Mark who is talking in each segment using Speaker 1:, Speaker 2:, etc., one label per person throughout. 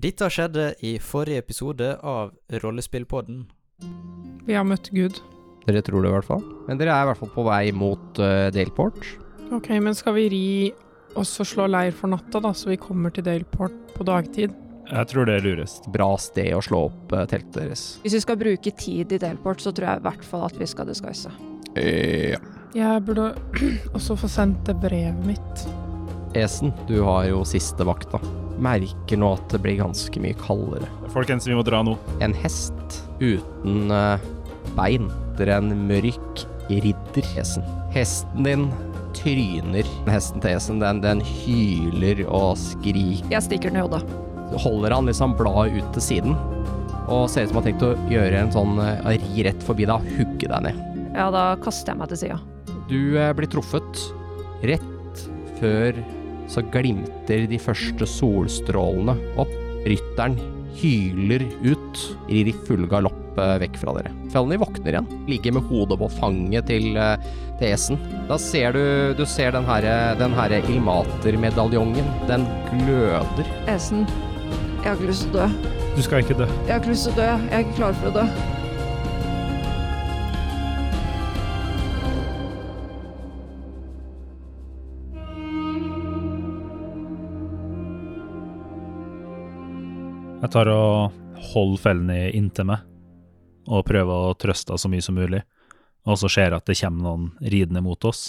Speaker 1: Dette skjedde i forrige episode av Rollespillpodden.
Speaker 2: Vi har møtt Gud.
Speaker 3: Dere tror det i hvert fall. Men dere er i hvert fall på vei mot eh, Daleport.
Speaker 2: Ok, men skal vi ri oss og slå leir for natta, da, så vi kommer til Daleport på dagtid?
Speaker 4: Jeg tror det er lurest.
Speaker 3: Bra sted å slå opp eh, teltet deres.
Speaker 5: Hvis vi skal bruke tid i Delport, så tror jeg i hvert fall at vi skal disguise.
Speaker 3: Ja.
Speaker 2: Jeg burde også få sendt det brevet mitt.
Speaker 3: Esen, du har jo siste vakta. Merker nå at det blir ganske mye kaldere.
Speaker 4: Folkens, vi må dra nå.
Speaker 3: En hest uten eh, bein. Dere er en mørk ridder, Esen. Hesten din tryner. Hesten til Esen, den, den hyler og skriker.
Speaker 5: Jeg stikker den i hodet.
Speaker 3: holder han liksom bladet ut til siden, og ser ut som han har tenkt å gjøre en sånn eh, ri rett forbi deg og hugge deg ned.
Speaker 5: Ja, da kaster jeg meg til sida.
Speaker 3: Du eh, blir truffet rett før så glimter de første solstrålene opp. Rytteren hyler ut, rir i full galopp eh, vekk fra dere. Felny våkner igjen, ligger med hodet på fanget til, eh, til Esen. Da ser du, du ser den her, eh, den her Ilmater-medaljongen. Den gløder.
Speaker 5: Esen, jeg har ikke lyst til å dø.
Speaker 4: Du skal ikke dø.
Speaker 5: Jeg har ikke lyst til å dø. Jeg er ikke klar for å dø.
Speaker 4: Jeg tar og holder fellene inntil meg, og prøver å trøste henne så mye som mulig. Og så ser jeg at det kommer noen ridende mot oss.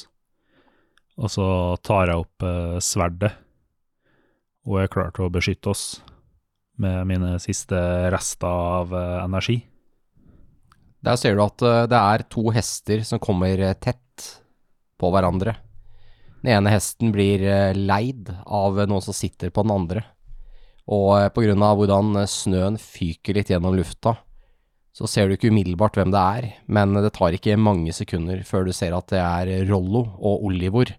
Speaker 4: Og så tar jeg opp eh, sverdet, og er klar til å beskytte oss med mine siste rester av eh, energi.
Speaker 3: Der ser du at eh, det er to hester som kommer eh, tett på hverandre. Den ene hesten blir eh, leid av eh, noen som sitter på den andre. Og eh, på grunn av hvordan eh, snøen fyker litt gjennom lufta, så ser du ikke umiddelbart hvem det er, men eh, det tar ikke mange sekunder før du ser at det er Rollo og Olivor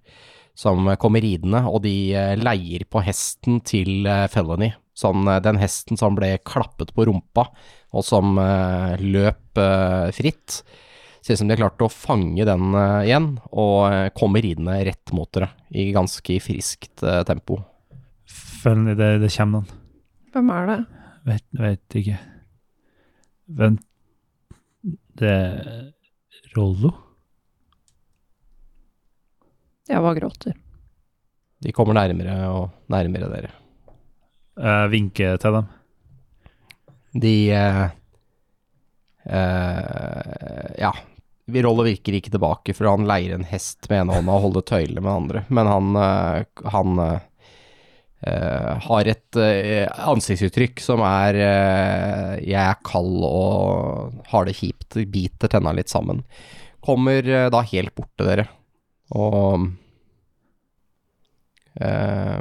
Speaker 3: som eh, kommer ridende, og de eh, leier på hesten til eh, Felony. Sånn, eh, den hesten som ble klappet på rumpa, og som eh, løp eh, fritt. Ser ut som de har klart å fange den eh, igjen, og eh, kommer ridende rett mot dere i ganske friskt eh, tempo.
Speaker 4: Fellene, det, det kommer noen.
Speaker 2: Hvem er det?
Speaker 4: Vet, vet ikke. Vent Det Rollo?
Speaker 5: Jeg bare gråter.
Speaker 3: De kommer nærmere og nærmere dere.
Speaker 4: Jeg vinker til dem.
Speaker 3: De eh, eh, Ja. Rollo virker ikke tilbake, for han leier en hest med ene hånda og holder tøylene med den andre, men han, eh, han eh, eh, har et eh, ansiktsuttrykk som er eh, Jeg er kald og har det kjipt, biter tenna litt sammen. Kommer eh, da helt bort til dere og eh,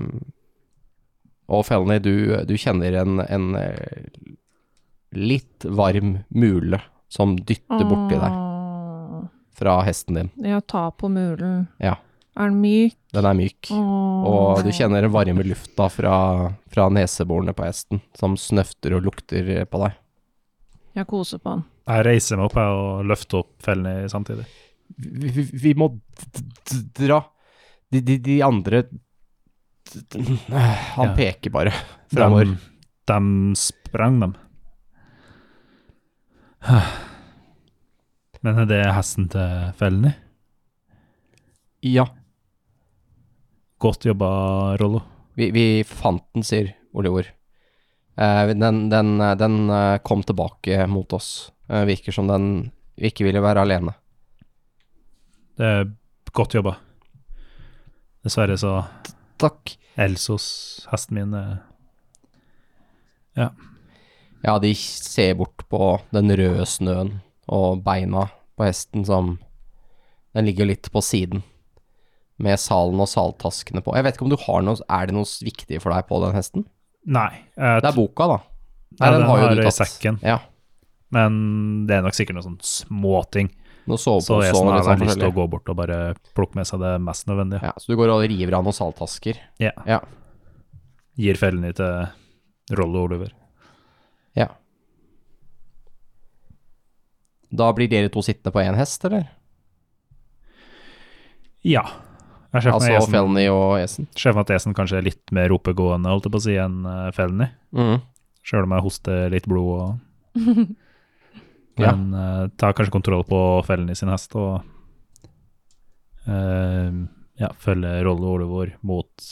Speaker 3: Og Felny, du, du kjenner en, en eh, litt varm mule som dytter borti deg
Speaker 5: Åh,
Speaker 3: fra hesten din.
Speaker 5: Jeg tar på mulen.
Speaker 3: Ja.
Speaker 5: Er den myk?
Speaker 3: Den er myk.
Speaker 5: Åh.
Speaker 3: Og du kjenner den varme lufta fra, fra neseborene på hesten, som snøfter og lukter på deg.
Speaker 5: Jeg koser på den.
Speaker 4: Jeg reiser meg opp her og løfter opp fellene samtidig.
Speaker 3: Vi, vi, vi må d- d- dra. De, de, de andre d- d- Han
Speaker 4: Ja.
Speaker 3: peker bare fremover.
Speaker 4: De, de sprang dem. Men er det hesten til fellene?
Speaker 3: Ja,
Speaker 4: Godt jobba, Rollo.
Speaker 3: vi, vi fant den, sier Oliver. Eh, Den, den, den eh, kom tilbake mot oss. Eh, Virker som den ikke ville være alene.
Speaker 4: Det er godt jobba. Dessverre så
Speaker 3: Takk.
Speaker 4: Elsos, hesten min, eh,
Speaker 3: Ja, de ser bort på den røde snøen og beina på hesten som Den ligger litt på siden med salen og saltaskene på. Jeg vet ikke om du har noe Er det noe viktig for deg på den hesten?
Speaker 4: Nei. Jeg,
Speaker 3: Det er boka, da.
Speaker 4: Ja,
Speaker 3: Nei,
Speaker 4: den
Speaker 3: jo
Speaker 4: har
Speaker 3: du
Speaker 4: jeg i
Speaker 3: tatt.
Speaker 4: sekken.
Speaker 3: Ja.
Speaker 4: men det er nok sikkert noen sånne småting.
Speaker 3: Noe sove
Speaker 4: Så jeg sånn,
Speaker 3: og
Speaker 4: har
Speaker 3: litt
Speaker 4: vel
Speaker 3: sånn
Speaker 4: lyst til å
Speaker 3: forskjellig.
Speaker 4: gå bort og bare plukke med seg det mest nødvendige.
Speaker 3: Ja, så du går og river av noen saltasker?
Speaker 4: Ja.
Speaker 3: Ja.
Speaker 4: Gir fellene til Rollo Oliver.
Speaker 3: Ja. Da blir dere to sittende på én hest, eller?
Speaker 4: Ja. Jeg ser for
Speaker 3: Altså
Speaker 4: meg Esen-
Speaker 3: Felny og Esen.
Speaker 4: Ser for meg at Esen kanskje er litt mer oppegående holdt jeg på å si, enn eh, Felny.
Speaker 3: Mhm.
Speaker 4: Sjøl om jeg hoster litt blod og
Speaker 3: Ja.
Speaker 4: Men eh, tar kanskje kontroll på fellen i sin hest og eh, ja, følger Rollo og Olivor mot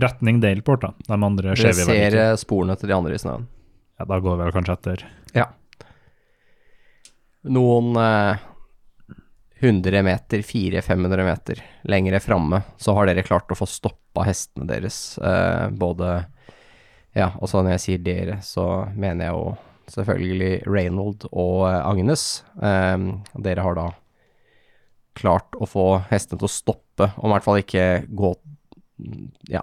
Speaker 4: retning Daleport, da. De andre
Speaker 3: Dere
Speaker 4: ser vi vel
Speaker 3: ser
Speaker 4: ikke.
Speaker 3: eh, sporene til de andre i snøen.
Speaker 4: Ja, da går vi vel kanskje etter.
Speaker 3: Noen eh, 100 meter, 400-500 meter lengre framme, så har dere klart å få stoppa hestene deres. Eh, både Ja, altså når jeg sier dere, så mener jeg jo selvfølgelig Reynold og eh, Agnes. Eh, dere har da klart å få hestene til å stoppe, og i hvert fall ikke gå ja,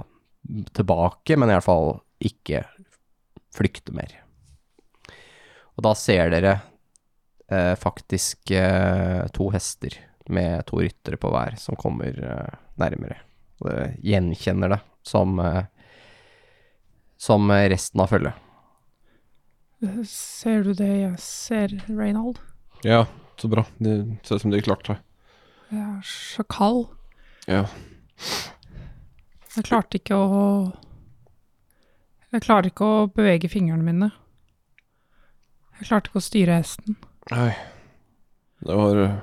Speaker 3: tilbake, men i hvert fall ikke flykte mer. Og da ser dere eh, faktisk eh, to hester med to ryttere på hver som kommer eh, nærmere. Og dere gjenkjenner det som, eh, som eh, resten av følget.
Speaker 2: Ser du det jeg ser, Reynold?
Speaker 6: Ja, så bra. Det ser ut som de klarte seg.
Speaker 2: Jeg er så kald.
Speaker 6: Ja.
Speaker 2: Jeg klarte ikke å Jeg klarer ikke å bevege fingrene mine. Jeg klarte ikke å styre hesten.
Speaker 6: Nei. Det var eh,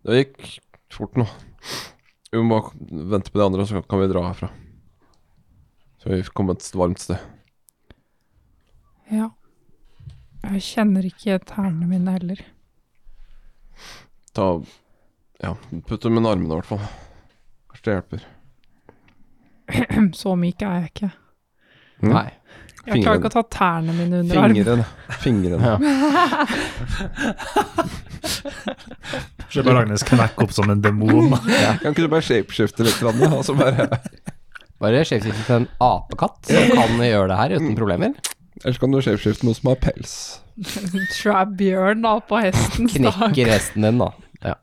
Speaker 6: Det gikk fort nå. Vi må bare vente på de andre, så kan vi dra herfra. Så vi kommer et varmt sted.
Speaker 2: Ja. Jeg kjenner ikke tærne mine heller.
Speaker 6: Ta Ja, putt dem i armene, i hvert fall. Kanskje det hjelper.
Speaker 2: Så myk er jeg ikke.
Speaker 6: Mm.
Speaker 3: Nei.
Speaker 2: Jeg klarer ikke å ta tærne mine under armen.
Speaker 6: Fingrene. Fingrene.
Speaker 3: Ja.
Speaker 4: Ser bare Agnes knekke opp som en demon. da.
Speaker 6: Kan ikke du bare shapeshifte litt, grann, og så bare
Speaker 3: Bare sjefsifte til en apekatt som kan gjøre det her uten problemer.
Speaker 6: Ellers kan du shapeshifte noe som har pels.
Speaker 2: Tror jeg bjørn da på hesten.
Speaker 3: Knekker hesten din, da. Ja.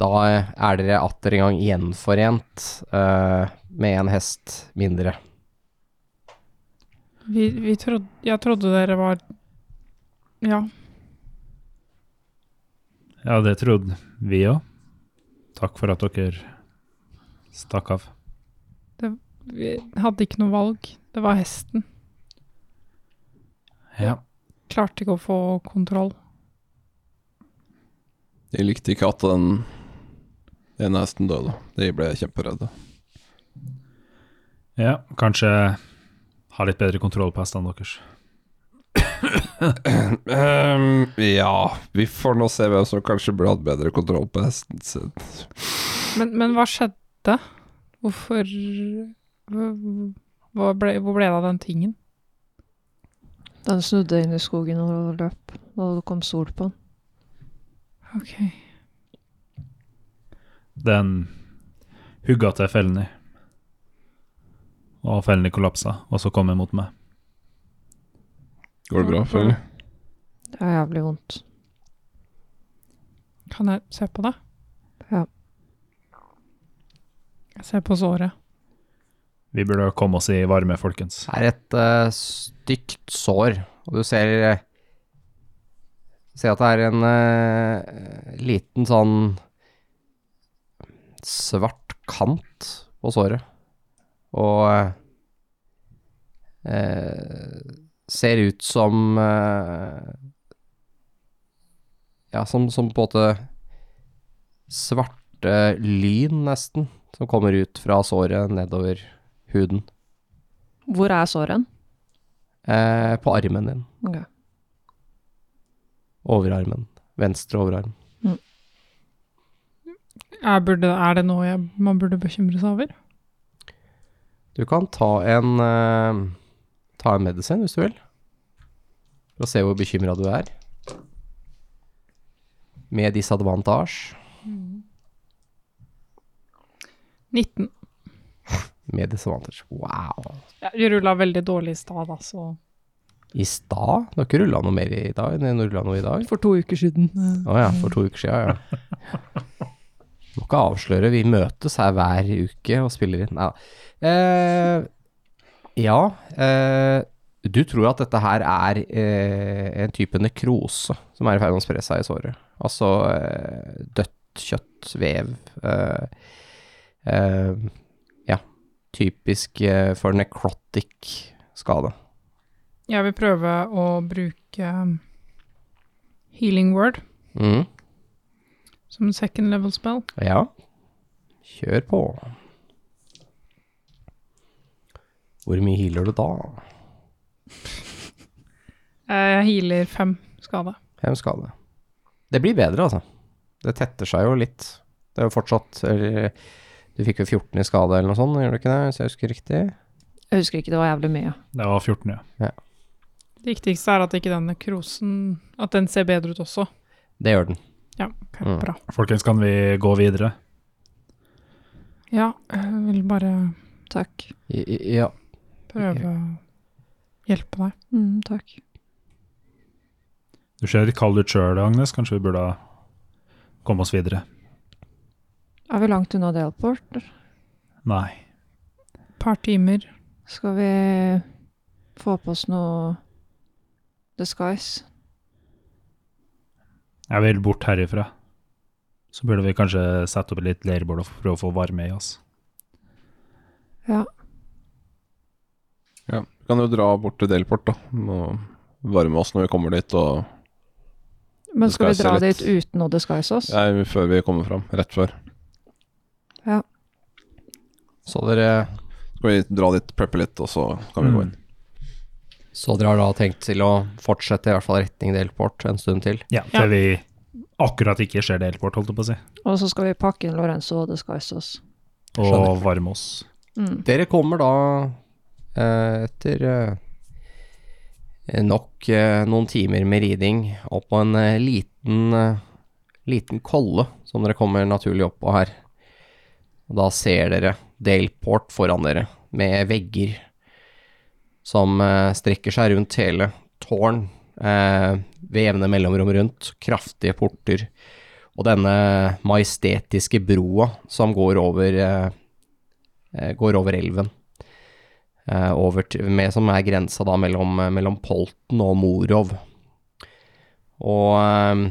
Speaker 3: Da eh, er dere atter en gang gjenforent eh, med en hest mindre.
Speaker 2: Vi, vi trodde, jeg trodde dere var Ja.
Speaker 4: Ja, det trodde vi òg. Takk for at dere stakk av.
Speaker 2: Vi hadde ikke noe valg. Det var hesten.
Speaker 4: Ja.
Speaker 2: Klarte ikke å få kontroll.
Speaker 6: De likte ikke at den ene hesten døde. De ble kjemperedde.
Speaker 4: ja, kanskje ha litt bedre kontroll på hestene deres.
Speaker 6: Ehm, ja, vi får nå se hvem som kanskje burde hatt bedre kontroll på hesten sin.
Speaker 2: Men, men hva skjedde? Hvorfor hva ble, Hvor ble det av den tingen?
Speaker 5: Den snudde inn i skogen og løp da det kom sol på den.
Speaker 2: Ok.
Speaker 4: Den hugga til Felny. Og Felny kollapsa, og så kom hun mot meg.
Speaker 6: Går det bra, føler jeg?
Speaker 5: Det er jævlig vondt.
Speaker 2: Kan jeg se på det?
Speaker 5: Ja.
Speaker 2: Jeg ser på såret.
Speaker 4: Vi burde komme oss i varme, folkens.
Speaker 3: Det er et eh, stygt sår, og du ser eh, Ser at det er en eh, liten sånn svart kant på såret. Og eh, eh, ser ut som eh, Ja, som, som på en måte svarte lyn, nesten, som kommer ut fra såret nedover huden.
Speaker 5: Hvor er såren?
Speaker 3: Eh, på armen din.
Speaker 5: Ok.
Speaker 3: Overarmen. Venstre overarm.
Speaker 2: Jeg burde, er det noe jeg, man burde bekymre seg over?
Speaker 3: Du kan ta en eh, Ta en medisin hvis du vil. For å se hvor bekymra du er. Med disadvantage.
Speaker 2: 19.
Speaker 3: Med disadvantage. Wow.
Speaker 2: Jeg rulla veldig dårlig i stad, da, så
Speaker 3: I stad? Du har ikke rulla noe mer i dag enn du rulla noe i dag?
Speaker 5: For to uker siden.
Speaker 3: Å ja, for to uker sia, ja. Må ikke avsløre, vi møtes her hver uke og spiller inn. Nei. Eh, ja, eh, du tror at dette her er eh, en type nekrose som er i ferd med å spre seg i såret. Altså eh, dødt kjøtt, vev eh, eh, Ja. Typisk eh, for necrotic skade.
Speaker 2: Jeg vil prøve å bruke um, healing word
Speaker 3: Mm.
Speaker 2: som en second level spell.
Speaker 3: Ja. Kjør på. Hvor mye healer du da?
Speaker 2: Eh, Jeg healer fem skade.
Speaker 3: Fem skade. Det blir bedre, altså. Det tetter seg jo litt. Det er jo fortsatt eller, Du fikk jo 14 i skade eller noe sånt, gjør du ikke det? Hvis jeg husker riktig?
Speaker 5: Jeg husker ikke, det var jævlig mye.
Speaker 4: Det var 14, ja.
Speaker 2: Det viktigste er at ikke den nekrosen At den ser bedre ut også.
Speaker 3: Det gjør den.
Speaker 2: Ja, ok,
Speaker 3: Mm.
Speaker 2: bra.
Speaker 4: Folkens, kan vi gå videre?
Speaker 2: Ja, jeg vil bare
Speaker 5: Takk.
Speaker 3: I, i, ja.
Speaker 2: prøve å hjelpe deg.
Speaker 5: Mm, takk.
Speaker 4: Du ser litt kald ut sjøl, Agnes. Kanskje vi burde komme oss videre?
Speaker 5: Er vi langt unna Delport?
Speaker 4: Nei.
Speaker 2: Et par timer.
Speaker 5: Skal vi få på oss noe disguise?
Speaker 4: Jeg vil bort herifra. Så burde vi kanskje sette opp litt leirbål og prøve å få varme i oss.
Speaker 5: Ja.
Speaker 6: Ja. Vi kan jo dra bort til Delport, da. Og varme oss når vi kommer dit, og
Speaker 5: Men skal vi
Speaker 6: Disguise
Speaker 5: dra
Speaker 6: er litt-
Speaker 5: dit uten å disguise oss?
Speaker 6: Nei, før vi kommer fram. Rett før.
Speaker 3: Så dere,
Speaker 6: Skal vi dra dit, preppe litt, og så kan vi gå inn.
Speaker 3: så dere har da tenkt til å fortsette i hvert fall retning Delport en stund til?
Speaker 4: Ja, til vi akkurat ikke ser delport, holdt jeg på å si.
Speaker 5: Og så skal vi pakke inn Lorenzo og disguise oss.
Speaker 4: Og
Speaker 3: Skjønner.
Speaker 4: varme oss.
Speaker 5: Mm.
Speaker 3: Dere kommer da eh, etter eh, nok eh, noen timer med riding opp på en eh, liten, eh, liten kolle som dere kommer naturlig opp på her. Og da ser dere Delport foran dere med vegger som eh, strekker seg rundt hele tårn eh, ved jevne mellomrom rundt, kraftige porter. Og denne majestetiske broa som går over eh, eh, går over elven. Eh, over til, med, som er grensa da mellom, eh, mellom Polten og Morov. Og eh,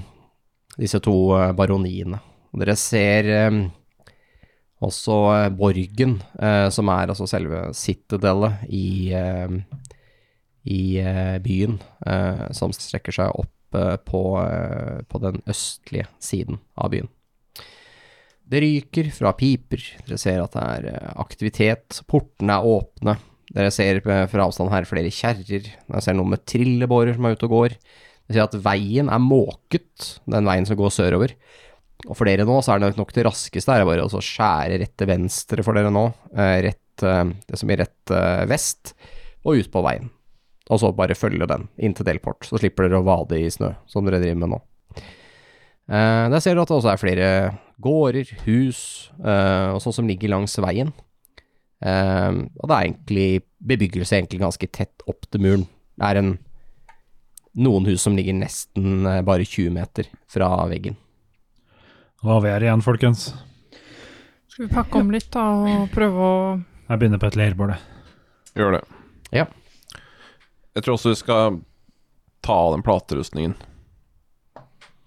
Speaker 3: disse to eh, baroniene. Og Dere ser eh, også eh, borgen, eh, som er altså selve citadellet i, eh, i eh, byen, eh, som strekker seg opp eh, på, eh, på den østlige siden av byen. Det ryker fra piper, dere ser at det er eh, aktivitet, portene er åpne, dere ser eh, fra avstand her flere kjerrer, dere ser noe med trillebårer som er ute og går, dere ser at veien er måket, den veien som går sørover, og for dere nå så er det nok det raskeste er bare å så skjære rett til venstre for dere nå, eh, rett, eh, det som blir rett eh, vest, og ut på veien, og så bare følge den inn til Delport, så slipper dere å vade i snø, som dere driver med nå. Eh, der ser du at det også er flere gårder, hus eh, og sånn som ligger langs veien. Eh, og det er egentlig bebyggelse egentlig ganske tett opp til muren. Det er en, noen hus som ligger nesten eh, bare 20 meter fra veggen.
Speaker 4: Hva er vi her igjen, folkens?
Speaker 2: Skal vi pakke om litt da, og prøve å
Speaker 4: Jeg begynner på et leirbål. jeg.
Speaker 6: Gjør det.
Speaker 3: Ja.
Speaker 6: Jeg tror også vi skal ta av den platerustningen.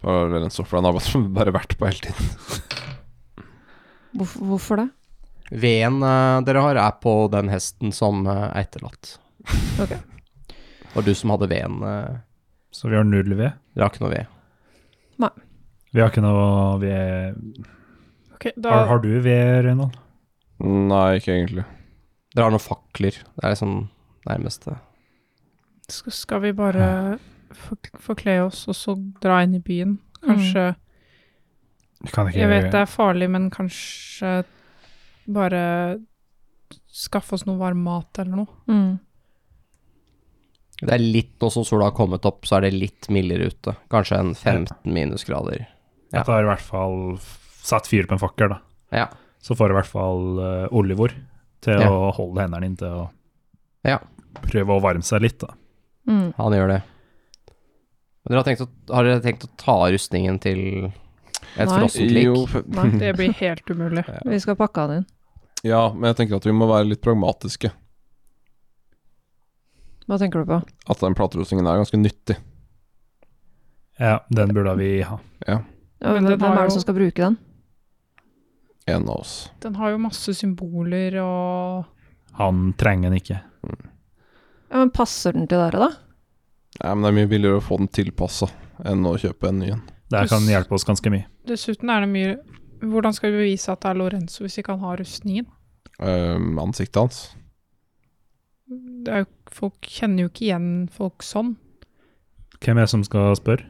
Speaker 6: For Lorenzo, for den har bare- bare vært på hele tiden.
Speaker 5: Hvorfor, hvorfor det?
Speaker 3: Veden eh, dere har, er på den hesten som eh, er etterlatt.
Speaker 5: Ok.
Speaker 3: Og du som hadde veden, eh,
Speaker 4: Så vi har null ved.
Speaker 3: dere har ikke noe ved.
Speaker 4: Vi har ikke noe ved
Speaker 2: Ok, da
Speaker 4: Har, har du ved, Reynold?
Speaker 6: Nei, ikke egentlig.
Speaker 3: Dere har noen fakler. Det er liksom nærmeste.
Speaker 2: sk- skal vi bare fork- forkle oss og så dra inn i byen. Kanskje
Speaker 4: Kan ikke
Speaker 2: Jeg vet det er farlig, men kanskje bare skaffe oss noe varm mat eller noe.
Speaker 5: Mm.
Speaker 3: Det er litt, nå som sola har kommet opp, så er det litt mildere ute. Kanskje en 15 minusgrader. Ja.
Speaker 4: Jeg tar i hvert fall f- Sett fyr på en fakkel, da.
Speaker 3: Ja.
Speaker 4: Så får jeg i hvert fall eh, Olivor til
Speaker 3: Ja.
Speaker 4: å holde hendene inntil og
Speaker 3: Ja.
Speaker 4: prøve å varme seg litt, da.
Speaker 5: Mm.
Speaker 3: Han gjør det. Men dere har, tenkt å, har dere tenkt å ta rustningen til et
Speaker 5: Nei.
Speaker 3: frossent lik?
Speaker 6: Jo, for-
Speaker 5: Nei,
Speaker 2: Det blir helt umulig.
Speaker 5: Vi skal pakke han inn.
Speaker 6: ja, men jeg tenker at vi må være litt pragmatiske.
Speaker 5: Hva tenker du på?
Speaker 6: At den platerustningen er ganske nyttig.
Speaker 4: Ja, den burde vi ha.
Speaker 5: Ja,
Speaker 2: Men
Speaker 5: hvem
Speaker 2: den
Speaker 5: hvem
Speaker 2: har
Speaker 5: er det
Speaker 2: jo-
Speaker 5: som skal bruke den?
Speaker 6: En av oss.
Speaker 2: Den har jo masse symboler og
Speaker 4: Han trenger den ikke.
Speaker 5: Ja, men passer den til dere, da?
Speaker 6: Nei, men det er mye billigere å få den tilpassa enn å kjøpe en ny en.
Speaker 4: Det kan hjelpe oss ganske mye.
Speaker 2: Dessuten er det mye Hvordan skal vi bevise at det er Lorenzo hvis ikke han har rustningen?
Speaker 6: Ehm, ansiktet hans.
Speaker 2: Det er jo, folk kjenner jo ikke igjen folk sånn.
Speaker 4: Hvem er det som skal spørre?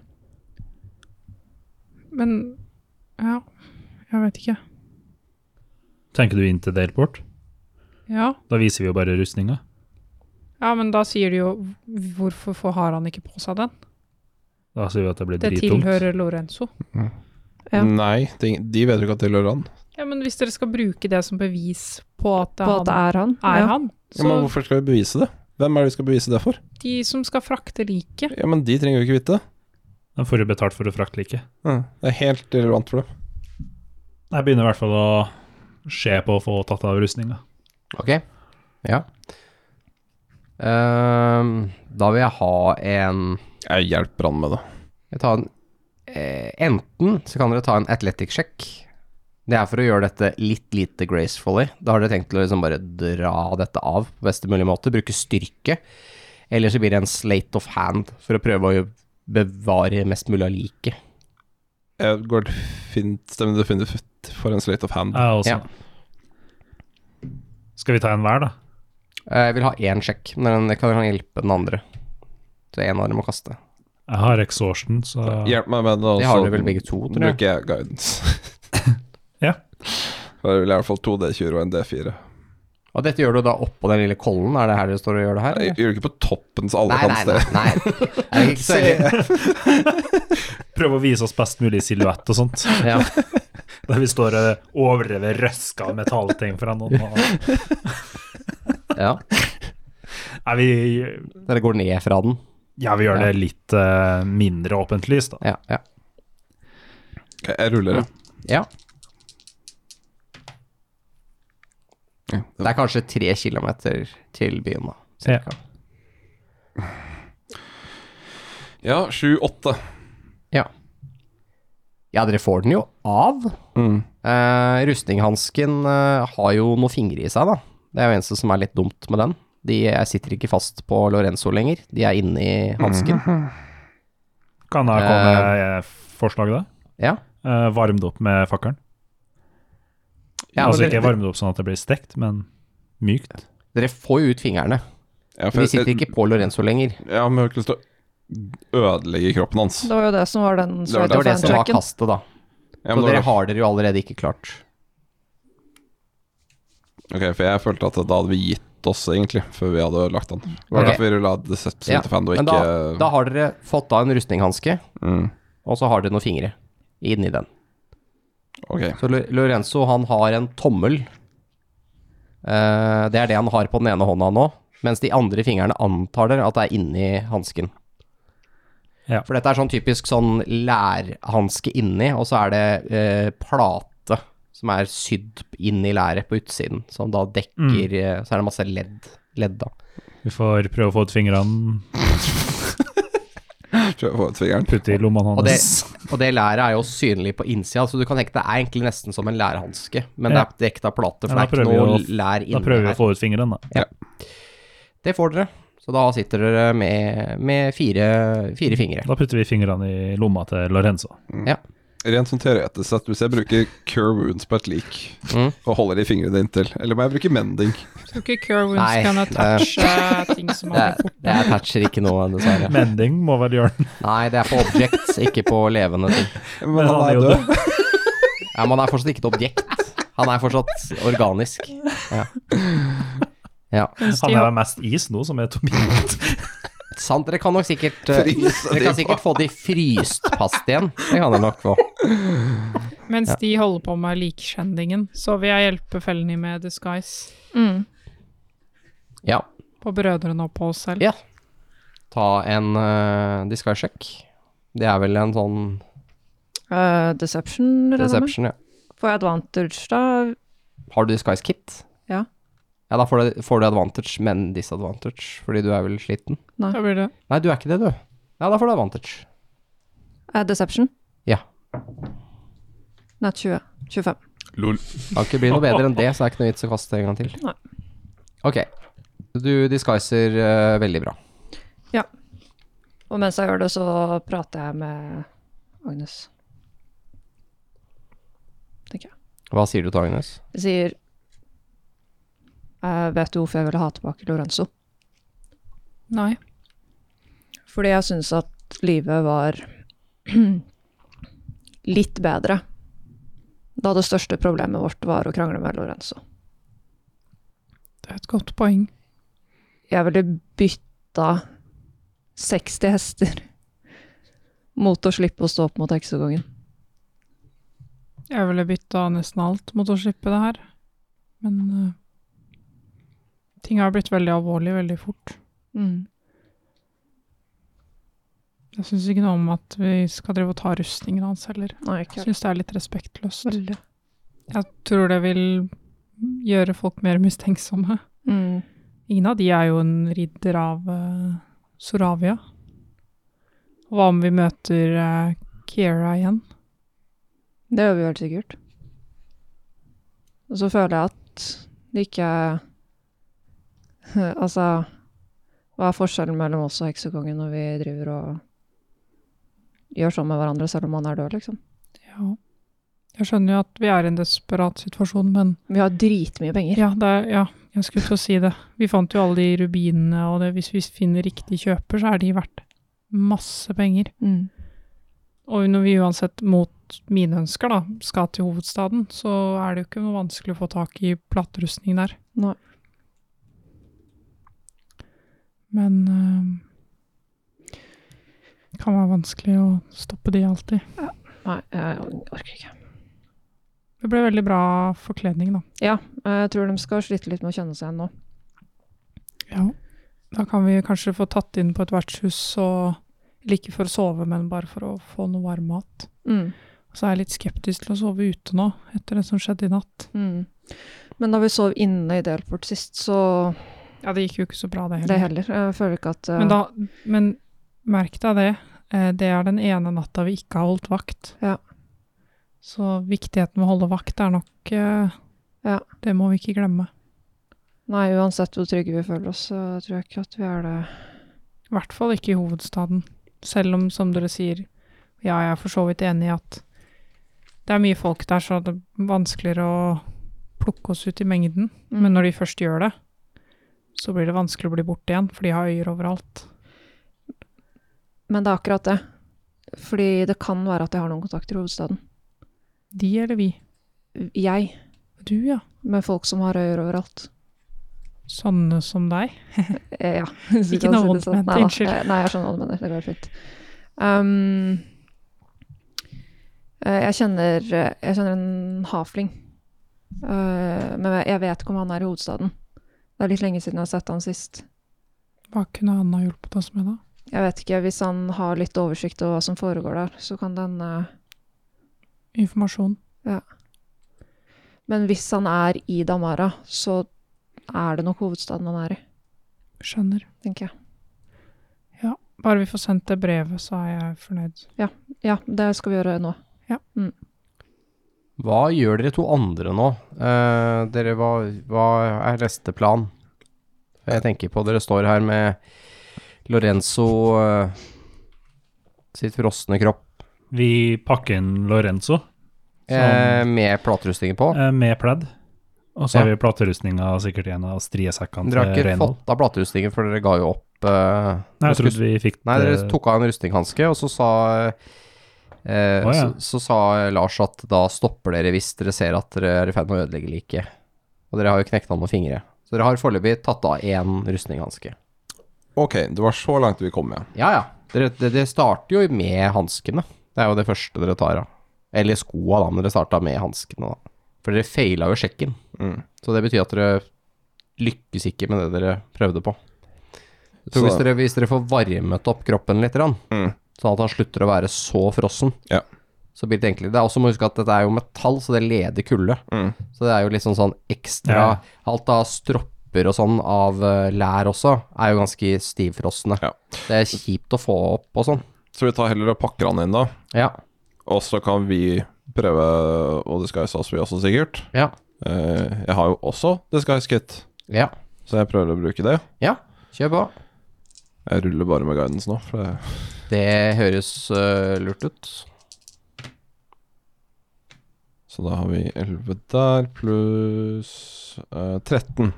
Speaker 2: Men ja, jeg vet ikke.
Speaker 4: Tenker du inn til the airport?
Speaker 2: Ja,
Speaker 4: Da viser vi jo bare rustninga.
Speaker 2: ja men da sier de jo Hvorfor får- har han ikke på seg den?
Speaker 4: Da sier vi at det blir
Speaker 2: Det
Speaker 4: drittungt.
Speaker 2: tilhører Lorenzo.
Speaker 5: Ja.
Speaker 6: Nei, de, de vet jo ikke at det tilhører han.
Speaker 2: Ja, men hvis dere skal bruke det som bevis på at det
Speaker 5: På
Speaker 2: er
Speaker 5: at det
Speaker 2: han,
Speaker 5: er han?
Speaker 2: er han
Speaker 6: Ja, men
Speaker 2: så
Speaker 6: hvorfor skal vi bevise det? Hvem er det vi skal bevise det for?
Speaker 2: de som skal frakte liket
Speaker 6: Ja, men de trenger jo ikke vite det.
Speaker 4: De får jo betalt for å frakte like.
Speaker 6: Det er helt irrelevant for dem.
Speaker 4: Jeg begynner i hvert fall å se på å få tatt av rustninga.
Speaker 3: Ok, ja. Ehm, da vil jeg ha en
Speaker 6: Jeg hjelper han med det.
Speaker 3: Jeg tar en eh, Enten så kan dere ta en athletic check. Det er for å gjøre dette litt lite gracefully. Da har dere tenkt til å liksom bare dra dette av på beste mulig måte. Bruke styrke. Eller så blir det en slate of hand for å prøve å bevare mest mulig av liket.
Speaker 6: Jeg går fint, stemmer definitivt for en slate of hand.
Speaker 4: Jeg også.
Speaker 3: Ja.
Speaker 4: Skal vi ta en hver, da?
Speaker 3: Eh, Jeg vil ha én sjekk, men den kan hjelpe den andre. Så én arm å kaste.
Speaker 4: Jeg har exhaustion, så
Speaker 6: Hjelp meg med det, og
Speaker 3: Det har dere vel begge to, tror jeg.
Speaker 6: bruker jeg guidance.
Speaker 4: Ja.
Speaker 6: Da vil jeg i hvert fall to D20 og en D4.
Speaker 3: Og dette gjør du da oppå den lille kollen? Er det her dere står og gjør det her?
Speaker 6: Jeg
Speaker 3: eller?
Speaker 6: gjør det ikke på toppen så alle
Speaker 3: Nei,
Speaker 6: kan
Speaker 3: nei,
Speaker 6: se.
Speaker 3: nei. nei. Det er ikke så ille.
Speaker 4: Prøv å vise oss best mulig silhuett og sånt.
Speaker 3: Ja.
Speaker 4: Der vi står og overdrevet røska av metallting fra noen. Nei,
Speaker 3: ja.
Speaker 4: vi,
Speaker 3: Dere går ned fra den.
Speaker 4: ja, vi gjør det litt eh, mindre åpent lys, da.
Speaker 3: Ja, ja.
Speaker 6: Ok, Jeg ruller, ja.
Speaker 3: ja.
Speaker 6: Ja,
Speaker 3: Det er kanskje tre kilometer til byen, da. Cirka.
Speaker 6: Ja, sju-åtte.
Speaker 3: Ja. ja, dere får den jo av.
Speaker 4: Mm.
Speaker 3: Eh, rustninghansken eh, har jo noen fingre i seg, da. Det er jo eneste som er litt dumt med den. De eh, sitter ikke fast på Lorenzo lenger, de er inni hansken.
Speaker 4: Mhm. Kan jeg komme med eh, forslag, da?
Speaker 3: Ja.
Speaker 4: Uh, varm det opp med fakkelen.
Speaker 3: ja
Speaker 4: altså
Speaker 3: men
Speaker 4: ikke
Speaker 3: dere,
Speaker 4: varm det opp sånn at det blir stekt, men mykt.
Speaker 3: dere får jo ut fingrene.
Speaker 6: Ja,
Speaker 3: Men de sitter ikke på Lorenzo lenger.
Speaker 6: Ja, men jeg har ikke lyst til å ødelegge kroppen hans.
Speaker 5: Det var jo det som var den
Speaker 6: Det var
Speaker 3: Det var det som var
Speaker 5: tracken.
Speaker 3: kastet, da. Så
Speaker 6: Ja, men det var
Speaker 3: dere
Speaker 6: det-
Speaker 3: har dere jo allerede ikke klart.
Speaker 6: Ok, for jeg følte at da hadde vi gitt oss, egentlig, før vi hadde ødelagt den. Det var
Speaker 3: Ok.
Speaker 6: derfor vi rulla Deceptive
Speaker 3: Ja,
Speaker 6: Fan, og
Speaker 3: Men
Speaker 6: ikke
Speaker 3: da, da har dere fått av en rustninghanske,
Speaker 6: Mm,
Speaker 3: og så har dere noen fingre inni den.
Speaker 6: Ok.
Speaker 3: Så Lo- Lorenzo han har en tommel. Eh, det er det han har på den ene hånda nå. Mens de andre fingrene antar dere at det er inni hansken.
Speaker 4: Ja.
Speaker 3: For dette er sånn typisk sånn lærhanske inni, og så er det eh, plate som er sydd inn i læret på utsiden, som da dekker
Speaker 4: Mm.
Speaker 3: eh, Så er det masse ledd. ledd da.
Speaker 4: Vi får prøve å få ut fingrene,
Speaker 6: Tror jeg får ut fingeren.
Speaker 4: putte i lommene
Speaker 3: Og det,
Speaker 4: hans.
Speaker 3: og det læret er jo synlig på innsida, så du kan tenke det er egentlig nesten som en lærhanske, men det
Speaker 4: Ja.
Speaker 3: er dekket av plate, for
Speaker 4: Ja, da
Speaker 3: det er ikke
Speaker 4: prøver
Speaker 3: noe
Speaker 4: vi å-
Speaker 3: lær
Speaker 4: Da
Speaker 3: inni
Speaker 4: prøver vi
Speaker 3: her.
Speaker 4: å få ut fingrene, da.
Speaker 3: Det får dere. Så da sitter dere med, med fire, fire fingre.
Speaker 4: Da putter vi fingrene i lomma til Lorenzo.
Speaker 3: Mm.
Speaker 6: Rent sånn teoretisk sett, hvis jeg bruker cure wounds på et lik
Speaker 3: Mm.
Speaker 6: og holder de fingrene inntil, eller må jeg bruke mending?
Speaker 2: Tror ikke Cure
Speaker 3: Nei,
Speaker 2: Wounds kan
Speaker 3: det-
Speaker 2: attache eh, ting som
Speaker 3: Det,
Speaker 2: har blitt
Speaker 3: det attacher ikke noe, dessverre.
Speaker 4: Mending må vel gjøre den.
Speaker 3: Nei, det er på objects, ikke på levende ting.
Speaker 6: Men, han, er jo død.
Speaker 3: Ja, men han er fortsatt ikke et objekt. Han er fortsatt organisk. Ja. ja.
Speaker 4: Han er vel mest is nå, som er Tobias.
Speaker 3: Sant, dere kan nok sikkert eh,
Speaker 6: Fryse
Speaker 3: Dere
Speaker 6: de
Speaker 3: kan sikkert få de fryst fast igjen. Det kan dere nok få.
Speaker 2: Mens de holder på med likskjendingen, så vil jeg hjelpe Felny med disguise
Speaker 5: Mm.
Speaker 3: Ja.
Speaker 2: på brødrene og på oss selv.
Speaker 3: Ja. Ta en uh, disguise-sjekk. Det er vel en sånn
Speaker 5: Eh, deception, regner jeg med.
Speaker 3: reception, ja.
Speaker 5: Får jeg advantage, da?
Speaker 3: Har du disguise-kit?
Speaker 5: Ja.
Speaker 3: Ja, da får du, får du advantage, men disadvantage, fordi du er vel sliten.
Speaker 2: Da blir det
Speaker 3: Nei, du er ikke det, du. Ja, da får du advantage.
Speaker 5: Eh, deception?
Speaker 3: Ja.
Speaker 5: Nei, 20. 25.
Speaker 6: Lol.
Speaker 3: Kan ikke bli noe bedre enn det, så er det ikke noe vits å kaste en gang til.
Speaker 5: Nei.
Speaker 3: Ok. Du disguiser eh, veldig bra.
Speaker 5: Og mens jeg gjør det, så prater jeg med Agnes.
Speaker 3: Hva sier du til Agnes?
Speaker 5: Jeg sier Jeg vet du hvorfor jeg ville ha tilbake Lorenzo?
Speaker 2: Nei.
Speaker 5: Fordi jeg syns at livet var litt bedre da det største problemet vårt var å krangle med Lorenzo.
Speaker 2: Det er et godt poeng.
Speaker 5: Jeg ville bytta 60 hester mot å slippe å stå opp mot heksekongen.
Speaker 2: Jeg ville bytta nesten alt mot å slippe det her. Men eh, ting har blitt veldig alvorlig veldig fort. Jeg syns ikke noe om at vi skal drive og ta rustningen hans heller.
Speaker 5: Nei,
Speaker 2: Jeg
Speaker 5: ikke
Speaker 2: syns det er litt respektløst. Jeg tror det vil gjøre folk mer mistenksomme.
Speaker 5: mm.
Speaker 2: Ingen av de er jo en ridder av eh, Soravia. Hva om vi møter eh, Kiera igjen?
Speaker 5: Det gjør vi helt sikkert. Og så føler jeg at det ikke Altså, hva er forskjellen mellom oss og heksekongen når vi driver og gjør sånn med hverandre selv om han er død, liksom?
Speaker 2: Ja. Jeg skjønner jo at vi er i en desperat situasjon, men
Speaker 5: Vi har dritmye penger.
Speaker 2: ja, det er, ja jeg skulle til å si det. Vi fant jo alle de rubinene, og det, hvis vi finner riktig kjøper, så er de verdt masse penger.
Speaker 5: Mm.
Speaker 2: Og når vi uansett mot mine ønsker da, skal til hovedstaden, så er det jo ikke noe vanskelig å få tak i platterustning der.
Speaker 5: Nei.
Speaker 2: Men eh, det kan være vanskelig å stoppe de alltid.
Speaker 5: Nei, jeg orker ikke.
Speaker 2: Det ble veldig bra forkledning da.
Speaker 5: Ja, jeg tror de skal slite litt med å kjenne seg igjen nå.
Speaker 2: Ja. Da kan vi kanskje få tatt inn på et vertshus, og, eller ikke for å sove, men bare for å få noe varm mat.
Speaker 5: Mm.
Speaker 2: Så er jeg litt skeptisk til å sove ute nå, etter det som skjedde i natt.
Speaker 5: Mm. Men da vi sov inne i Delport sist, så
Speaker 2: Ja, det gikk jo ikke så bra det
Speaker 5: Det
Speaker 2: heller.
Speaker 5: heller. Jeg føler ikke at eh,
Speaker 2: Men, da, men merk deg det. eh, Det er den ene natta vi ikke har holdt vakt.
Speaker 5: Ja.
Speaker 2: Så viktigheten med å holde vakt er nok eh,
Speaker 5: Ja.
Speaker 2: Det må vi ikke glemme.
Speaker 5: Nei, uansett hvor trygge vi føler oss, så tror jeg ikke at vi er det.
Speaker 2: I hvert fall ikke i hovedstaden. Selv om, som dere sier, ja, jeg er for så vidt enig i at det er mye folk der, så det er vanskeligere å plukke oss ut i mengden.
Speaker 5: Mm.
Speaker 2: Men når de først gjør det, så blir det vanskelig å bli borte igjen, for de har øyer overalt.
Speaker 5: Men det er akkurat det. Fordi det kan være at jeg har noen kontakter i hovedstaden.
Speaker 2: De eller vi?
Speaker 5: Jeg,
Speaker 2: Du, ja.
Speaker 5: med folk som har øyer overalt.
Speaker 2: Sånne som deg.
Speaker 5: Eh, Ja.
Speaker 2: Ikke noe vondt ment,
Speaker 5: Nei da,
Speaker 2: unnskyld.
Speaker 5: eh, Nei, jeg skjønner hva du mener. Det går helt fint. Um, eh, jeg kjenner Jeg kjenner en hafling. Eh, men jeg vet ikke om han er i hovedstaden. Det er litt lenge siden jeg har sett han sist.
Speaker 2: Hva kunne han ha hjulpet oss med da?
Speaker 5: Jeg vet ikke, Hvis han har litt oversikt over hva som foregår der, så kan den eh,
Speaker 2: Informasjon.
Speaker 5: Men hvis han er i Damara, så er det nok hovedstaden han er i,
Speaker 2: Skjønner.
Speaker 5: tenker jeg.
Speaker 2: Bare vi får sendt det brevet, så er jeg fornøyd.
Speaker 5: Ja, det skal vi gjøre nå.
Speaker 3: Hva gjør dere to andre nå? Eh, dere, hva, hva er neste plan? Jeg tenker på dere står her med Lorenzo eh, sitt frosne kropp
Speaker 4: Vi pakker inn Lorenzo
Speaker 3: eh, med platerustninger på.
Speaker 4: eh, med pledd. Og så har
Speaker 3: Ja.
Speaker 4: vi platerustninga sikkert i en av striesekkene
Speaker 3: Dere har
Speaker 4: til
Speaker 3: ikke
Speaker 4: Reynold.
Speaker 3: fått av platerustningen, for dere ga jo opp eh,
Speaker 4: eh, Nei, jeg
Speaker 3: dere
Speaker 4: trodde vi fikk
Speaker 3: Nei,
Speaker 4: eh,
Speaker 3: dere tok av en rustinghanske, og så sa eh,
Speaker 4: Å, ja.
Speaker 3: så, så sa Lars at da stopper dere hvis dere ser at dere er i ferd med å ødelegge liket. Og dere har jo knekt av noen fingre. Så dere har foreløpig tatt av én rustninghanske.
Speaker 6: Ok, det var så langt vi kom, ja.
Speaker 3: Ja, ja. Dere, dere, dere starter jo med hanskene. Det er jo det første dere tar av. Eller skoa, da, men dere starta med hanskene, da. For dere feila jo sjekken.
Speaker 6: Mm.
Speaker 3: Så det betyr at dere lykkes ikke med det dere prøvde på. Jeg tror
Speaker 6: Så-
Speaker 3: hvis, dere, hvis dere får varmet opp kroppen litt, grann,
Speaker 6: Mm.
Speaker 3: sånn at han slutter å være så frossen,
Speaker 6: Ja.
Speaker 3: så blir det enklere. Det er også må huske at dette er jo metall, så det leder kulde.
Speaker 6: Mm.
Speaker 3: Så det er jo litt sånn, sånn ekstra
Speaker 4: Ja.
Speaker 3: Alt av stropper og sånn av eh, lær også, er jo ganske stivfrosne.
Speaker 6: Ja.
Speaker 3: Det er kjipt å få opp og sånn.
Speaker 6: Så vi tar heller og pakker han inn, da.
Speaker 3: Ja.
Speaker 6: Og så kan vi prøve å disguise oss, vi også, sikkert.
Speaker 3: Ja.
Speaker 6: Eh, jeg har jo også disguise kit.
Speaker 3: ja.
Speaker 6: Så jeg prøver å bruke det.
Speaker 3: Kjør på.
Speaker 6: Jeg ruller bare med guidance nå, for det
Speaker 3: Det høres øh, lurt ut.
Speaker 6: Så da har vi 11 der, pluss eh, 13.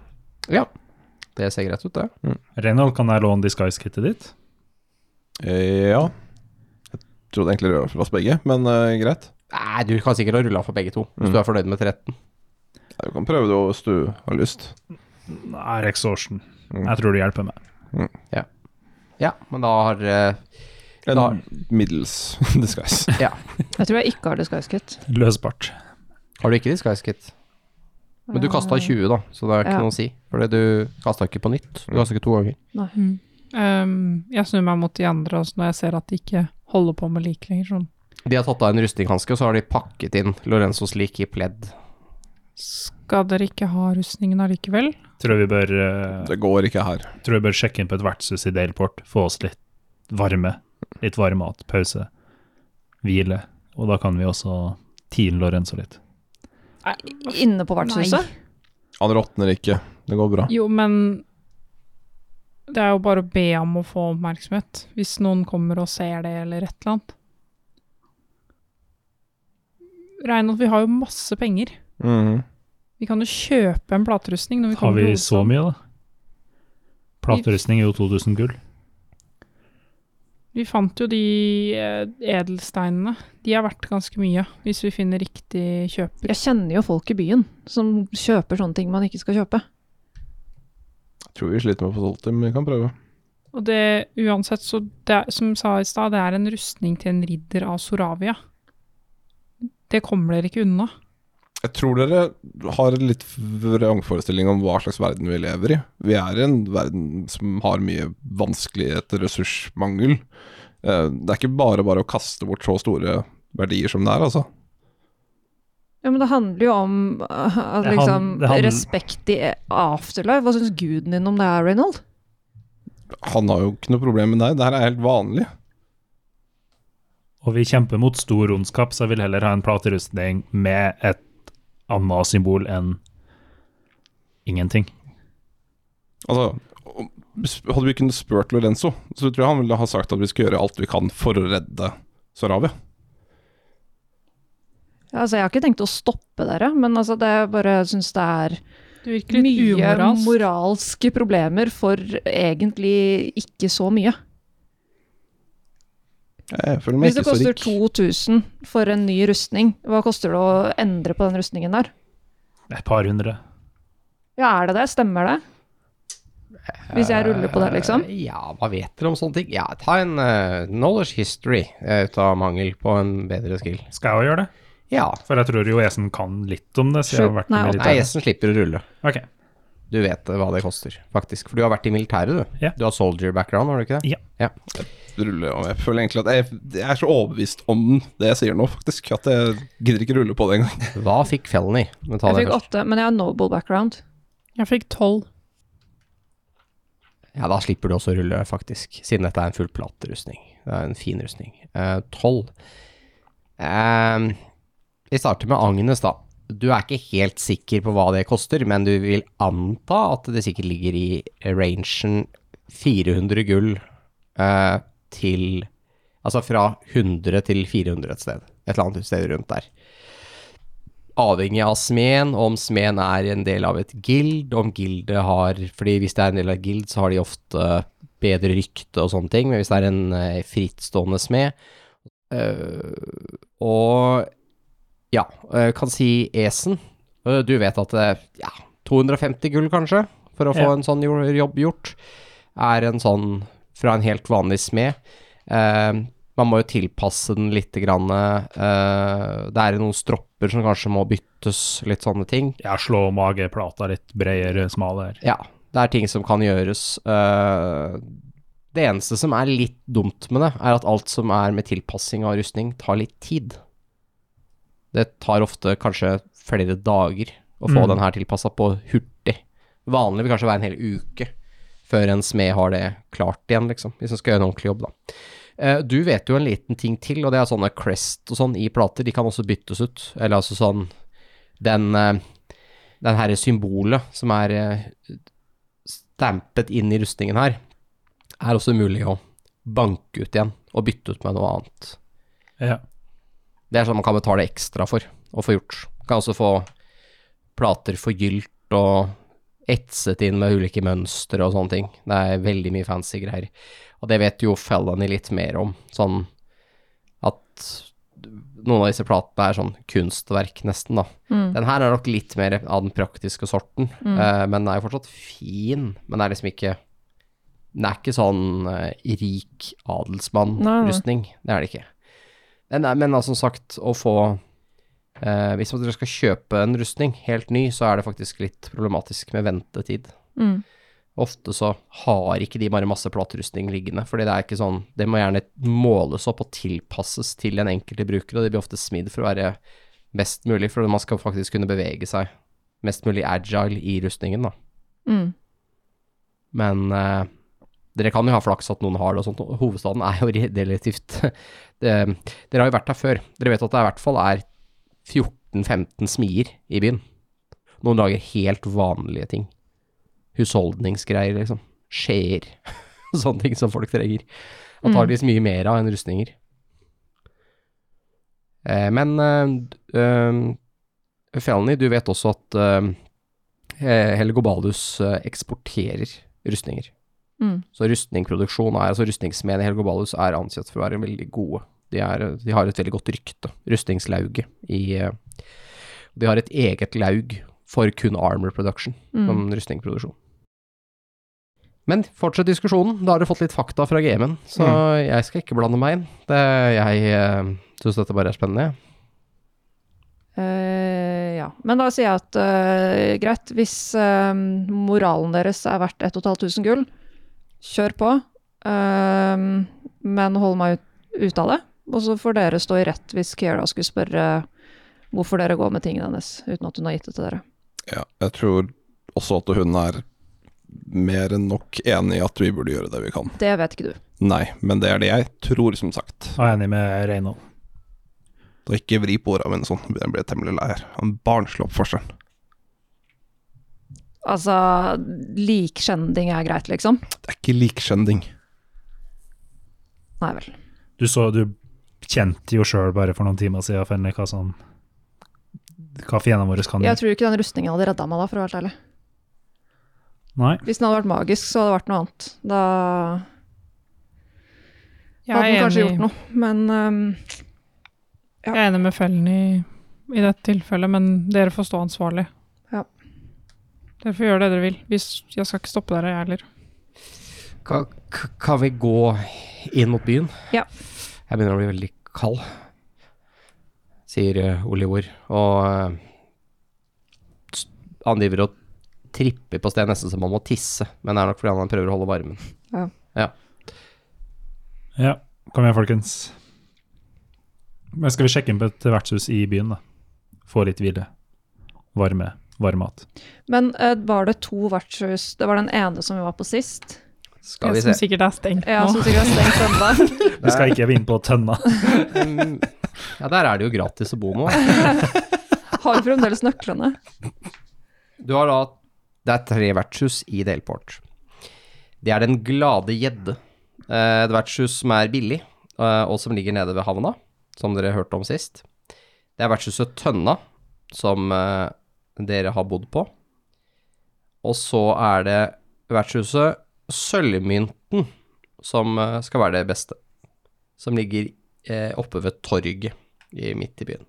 Speaker 3: Det ser greit ut, det.
Speaker 4: Reynold, kan jeg låne disguise-kittet ditt?
Speaker 6: Eh, ja. Jeg trodde egentlig det var for oss begge, men eh, greit.
Speaker 3: Nei, du kan sikkert ha rulla for begge to, hvis
Speaker 6: Mm.
Speaker 3: du er fornøyd med 13.
Speaker 6: Ja, Du kan prøve det hvis du har lyst.
Speaker 4: Nei, exhaustion.
Speaker 6: Mm.
Speaker 4: Jeg tror det hjelper meg.
Speaker 3: Ja, men da har øh,
Speaker 6: En
Speaker 3: Da-
Speaker 6: middels disguise.
Speaker 5: Jeg tror jeg ikke har disguise kit.
Speaker 4: Løsbart.
Speaker 3: Har du ikke disguise kit? Men du kasta 20, da, så det er ikke
Speaker 5: Ja.
Speaker 3: noe å si. Fordi du kasta ikke på nytt. Du kasta ikke to ganger.
Speaker 5: Nei.
Speaker 2: Mm. Ehm, jeg snur meg mot de andre også når jeg ser at de ikke holder på med lik lenger. Sånn.
Speaker 3: De har tatt av en rustinghanske, og så har de pakket inn Lorenzos lik i pledd.
Speaker 2: Skal dere ikke ha rustningen allikevel?
Speaker 4: Tror vi bør, eh,
Speaker 6: Det går ikke her.
Speaker 4: tror vi bør sjekke inn på et vertshus i Daleport, få oss litt varme. Litt varm mat, pause, hvile. Og da kan vi også teale Lorenzo litt.
Speaker 5: Inne på vertshuset?
Speaker 6: Han råtner ikke. Det går bra.
Speaker 2: Jo, men det er jo bare å be om å få oppmerksomhet. Hvis noen kommer og ser det, eller et eller annet. Reinhold, vi har jo masse penger.
Speaker 6: Mhm.
Speaker 2: Vi kan jo kjøpe en platerustning når vi
Speaker 4: Har
Speaker 2: kommer
Speaker 4: vi
Speaker 2: til
Speaker 4: så
Speaker 2: hovedstaden.
Speaker 4: mye, da? Platerustning er jo 2000 gull.
Speaker 2: Vi fant jo de eh, edelsteinene. De er verdt ganske mye, hvis vi finner riktig kjøper.
Speaker 5: Jeg kjenner jo folk i byen som kjøper sånne ting man ikke skal kjøpe.
Speaker 6: Jeg tror vi sliter med på Solti, men vi kan prøve.
Speaker 2: Og det uansett, så det, er- som jeg sa i stad, det er en rustning til en ridder av Soravia. Det kommer dere ikke unna.
Speaker 6: Jeg tror dere har en litt vrangforestilling om hva slags verden vi lever i. Vi er i en verden som har mye vanskeligheter, ressursmangel. Eh, Det er ikke bare bare å kaste bort så store verdier som det er, altså.
Speaker 5: Ja, men det handler jo om uh, at
Speaker 4: Det han-
Speaker 5: liksom,
Speaker 4: det handler-
Speaker 5: respekt i afterlife. Hva syns guden din om det er, Reynold?
Speaker 6: Han har jo ikke noe problem med deg, det her er helt vanlig.
Speaker 4: Og vi kjemper mot stor ondskap, så jeg vil heller ha en platerustning med et annet symbol enn ingenting.
Speaker 6: Altså, om- hadde vi kunnet spurt Lorenzo, så tror jeg han ville ha sagt at vi skal gjøre alt vi kan for å redde Sarabia.
Speaker 5: Ja, Altså, jeg har ikke tenkt å stoppe dere, men altså, det er bare, jeg syns det er
Speaker 2: Det virker litt
Speaker 5: mye
Speaker 2: umoralsk.
Speaker 5: moralske problemer for egentlig ikke så mye.
Speaker 6: Jeg føler meg
Speaker 5: Hvis det
Speaker 6: ikke så
Speaker 5: koster
Speaker 6: rik.
Speaker 5: 2000 for en ny rustning, hva koster det å endre på den rustningen der?
Speaker 4: Et par hundre.
Speaker 5: Ja, er det det? Stemmer det? Hvis jeg ruller på det, liksom?
Speaker 3: Eh, Ja, hva vet dere om sånne ting? Ja, ta en eh, knowledge history eh, ut av mangel på en bedre skill.
Speaker 4: Skal jeg òg gjøre det?
Speaker 3: Ja.
Speaker 4: For jeg tror jo Esen kan litt om det, så jeg har vært
Speaker 5: Nei,
Speaker 4: med
Speaker 3: Nei,
Speaker 4: litt
Speaker 3: gjesten slipper å rulle.
Speaker 4: der. Ok,
Speaker 3: Du vet eh, hva det koster, faktisk. For du har vært i militæret, du.
Speaker 4: Ja.
Speaker 3: Du har soldier background, har du ikke det?
Speaker 6: rulle og Jeg føler egentlig at jeg, jeg er så overbevist om det jeg sier nå, faktisk, at jeg gidder ikke rulle på det engang.
Speaker 3: Hva fikk Felony? Men ta
Speaker 5: Jeg
Speaker 3: det
Speaker 5: fikk
Speaker 3: først.
Speaker 5: åtte, men jeg har noble background.
Speaker 2: Jeg fikk tolv.
Speaker 3: Ja, da slipper du også å rulle, faktisk. Siden dette er en full platerustning. Det er en fin rustning. Eh, Tolv. Eh, vi starter med Agnes, da. Du er ikke helt sikker på hva det koster, men du vil anta at det sikkert ligger i rangen 400 gull eh, til Altså fra 100 til 400 et sted. Et eller annet sted rundt der. Avhengig av smeden, om smeden er en del av et gild, om gildet har Fordi hvis det er en del av et gild, så har de ofte bedre rykte og sånne ting, men hvis det er en eh, frittstående smed øh, Og ja, øh, kan si Esen. Øh, du vet at eh, ja, 250 gull, kanskje, for å få
Speaker 4: Ja.
Speaker 3: en sånn jo- jobb gjort, er en sånn fra en helt vanlig smed. Eh, man må jo tilpasse den litt. Grann, eh, det er noen stropper som kanskje må byttes, litt sånne ting.
Speaker 4: jeg slår mageplata litt bredere, smalere.
Speaker 3: Ja, det er ting som kan gjøres. Eh, det eneste som er litt dumt med det, er at alt som er med tilpassing av rustning, tar litt tid. Det tar ofte kanskje flere dager å få
Speaker 4: Mm.
Speaker 3: den her tilpassa på hurtig. Vanlig vil kanskje være en hel uke før en smed har det klart igjen, liksom, hvis en skal gjøre en ordentlig jobb, da. Eh, Du vet jo en liten ting til, og det er sånne crest og sånn i plater. De kan også byttes ut. Eller altså sånn Den, eh, den herre symbolet som er eh, stampet inn i rustningen her, er også mulig å banke ut igjen og bytte ut med noe annet.
Speaker 4: Ja.
Speaker 3: Det er sånn man kan betale ekstra for å få gjort. Kan også få plater forgylt og etset inn med ulike mønstre og sånne ting. Det er veldig mye fancy greier. Og det vet jo Fellany litt mer om. Sånn at noen av disse platene er sånn kunstverk, nesten, da.
Speaker 5: Mm.
Speaker 3: Den her er nok litt mer av den praktiske sorten, eh, men den er jo fortsatt fin. Men det er liksom ikke Den er ikke sånn eh, rik
Speaker 5: Nei, nei.
Speaker 3: adelsmann-rustning. Det er det ikke. Den er, men da, som sagt, å få eh, Hvis dere skal kjøpe en rustning helt ny, så er det faktisk litt problematisk med ventetid.
Speaker 5: Mm.
Speaker 3: Ofte så har ikke de bare masse platerustning liggende, fordi det er ikke sånn Det må gjerne måles opp og tilpasses til den enkelte bruker, og det blir ofte smidd for å være best mulig, for man skal faktisk kunne bevege seg mest mulig agile i rustningen, da.
Speaker 5: Mm.
Speaker 3: Men eh, dere kan jo ha flaks at noen har det og sånt. og Hovedstaden er jo relativt det, Dere har jo vært her før. Dere vet at det i hvert fall er 14-15 smier i byen. Noen lager helt vanlige ting. Husholdningsgreier, liksom. Skjeer. Sånne ting som folk trenger.
Speaker 5: Mm.
Speaker 3: Antakeligvis mye mer av enn rustninger. Eh, men eh, eh, Felny, du vet også at eh, Eh, Helgobalus eh, eksporterer rustninger.
Speaker 5: Mm.
Speaker 3: Så rustningproduksjon er, altså rustningsmediet Helgobalus er ansett for å være veldig gode. De, er, eh, de har et veldig godt rykte, rustningslauget i eh, De har et eget laug for kun armor production, som
Speaker 5: Mm.
Speaker 3: Sånn rustningproduksjon. Men fortsett diskusjonen, da har du fått litt fakta fra gamen, så
Speaker 5: Mm.
Speaker 3: jeg skal ikke blande meg inn. Det, jeg eh, syns dette bare er spennende, jeg.
Speaker 5: Eh, ja. Men da sier jeg at eh, greit, hvis eh, moralen deres er verdt 1500 gull, kjør på. Eh, men hold meg ut, ut av det. Og så får dere stå i rett hvis Kiera skulle spørre hvorfor dere går med tingene hennes uten at hun har gitt det til dere.
Speaker 6: Ja, jeg tror også at hun er mer enn nok enig i at vi burde gjøre det vi kan.
Speaker 5: Det vet ikke du.
Speaker 6: Nei, men det er det jeg tror, som sagt.
Speaker 4: Jeg er enig med Reynold.
Speaker 6: Og ikke vri på åra mine sånn, jeg blir temmelig lei her. Han barnslig oppførsel.
Speaker 5: Altså, likskjending er greit, liksom?
Speaker 6: Det er ikke likskjending.
Speaker 5: Nei vel.
Speaker 4: Du så du kjente jo sjøl bare for noen timer siden, Fenny, hva som Hva fiendene våre kan
Speaker 5: Jeg
Speaker 4: gjøre.
Speaker 5: tror ikke den rustningen hadde redda meg da, for å være helt ærlig.
Speaker 4: Nei.
Speaker 5: Hvis den hadde vært magisk, så hadde det vært noe annet. Da
Speaker 2: Jeg
Speaker 5: hadde den
Speaker 2: er,
Speaker 5: kanskje
Speaker 2: enig,
Speaker 5: gjort noe, men ehm, ja.
Speaker 2: jeg er enig med Fellen i, i dette tilfellet, men dere får stå ansvarlig.
Speaker 5: Ja.
Speaker 2: Dere får gjøre det dere vil. Hvis, jeg skal ikke stoppe dere, jeg heller.
Speaker 3: Ka- k- Kan vi gå inn mot byen?
Speaker 5: Ja.
Speaker 3: Jeg begynner å bli veldig kald, sier eh, Oliver, og eh, s- han driver og tripper på sted nesten som om han må tisse, men det er nok fordi han prøver å holde varmen.
Speaker 4: Ja, kom igjen, folkens. Men skal vi sjekke inn på et vertshus i byen, da? Få litt hvile. Varme. Varm mat.
Speaker 5: Men eh, var det to vertshus? Det var den ene som vi var på sist.
Speaker 3: Skal vi
Speaker 2: som
Speaker 3: se.
Speaker 2: sikkert er stengt
Speaker 5: Ja,
Speaker 2: nå.
Speaker 5: som sikkert er stengt ennå.
Speaker 4: Vi skal ikke inn på tønna.
Speaker 3: Mm, Ja, der er det jo gratis å bo nå.
Speaker 5: Har vi fremdeles nøklene?
Speaker 3: Du har da Det er tre vertshus i Delport. Det er Den glade gjedde. Eh, Et vertshus som er billig, eh, og som ligger nede ved havna, som dere hørte om sist. Det er vertshuset Tønna, som eh, dere har bodd på. Og så er det vertshuset Sølvmynten, som eh, skal være det beste. Som ligger eh, oppe ved torget i- midt i byen.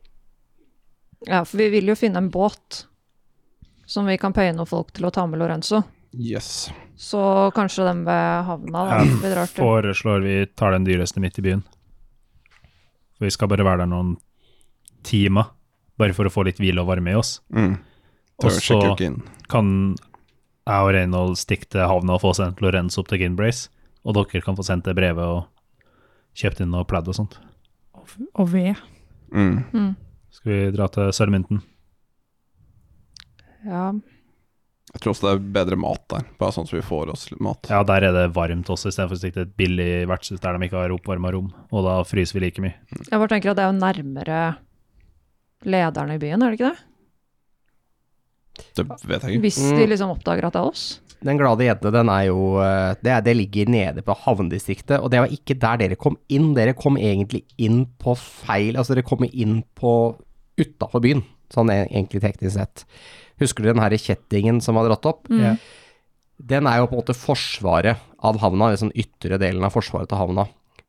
Speaker 5: Ja, for vi vil jo finne en båt som vi kan pøye noen folk til å ta med Lorenzo.
Speaker 6: Yes.
Speaker 5: Så kanskje den ved havna da, vi drar til.
Speaker 4: Foreslår vi tar den dyreste midt i byen. For vi skal bare være der noen timer, bare for å få litt hvile og varme i oss.
Speaker 6: Mm.
Speaker 4: Og
Speaker 6: Tør
Speaker 4: så
Speaker 6: sjekker jo ikke inn.
Speaker 4: kan jeg og Reynold stikke til havna og få sendt Lorenzo opp til Ginbrace, og dere kan få sendt det brevet og kjøpt inn noe pledd og sånt.
Speaker 2: Og ved.
Speaker 6: Mm.
Speaker 4: Skal vi dra til Sølvmynten?
Speaker 5: Ja.
Speaker 6: Jeg tror også det er bedre mat der, bare sånn at vi får oss litt mat.
Speaker 4: Ja, der er det varmt også, istedenfor å stikke til et billig vertshus der de ikke har oppvarma rom, og da fryser vi like mye.
Speaker 5: Jeg bare tenker at det er jo nærmere lederne i byen, er det ikke det?
Speaker 6: Det vet jeg ikke.
Speaker 5: Hvis
Speaker 3: Mm.
Speaker 5: de liksom oppdager at det er oss.
Speaker 3: Den glade jente, den er jo eh, det, er, det ligger nede på havnedistriktet, og det var ikke der dere kom inn. Dere kom egentlig inn på feil Altså, dere kom inn på utafor byen, sånn e- egentlig teknisk sett. Husker du den herre kjettingen som var dratt opp?
Speaker 2: Ja.
Speaker 3: Den er jo på en måte forsvaret av havna, den sånn ytre delen av forsvaret til havna.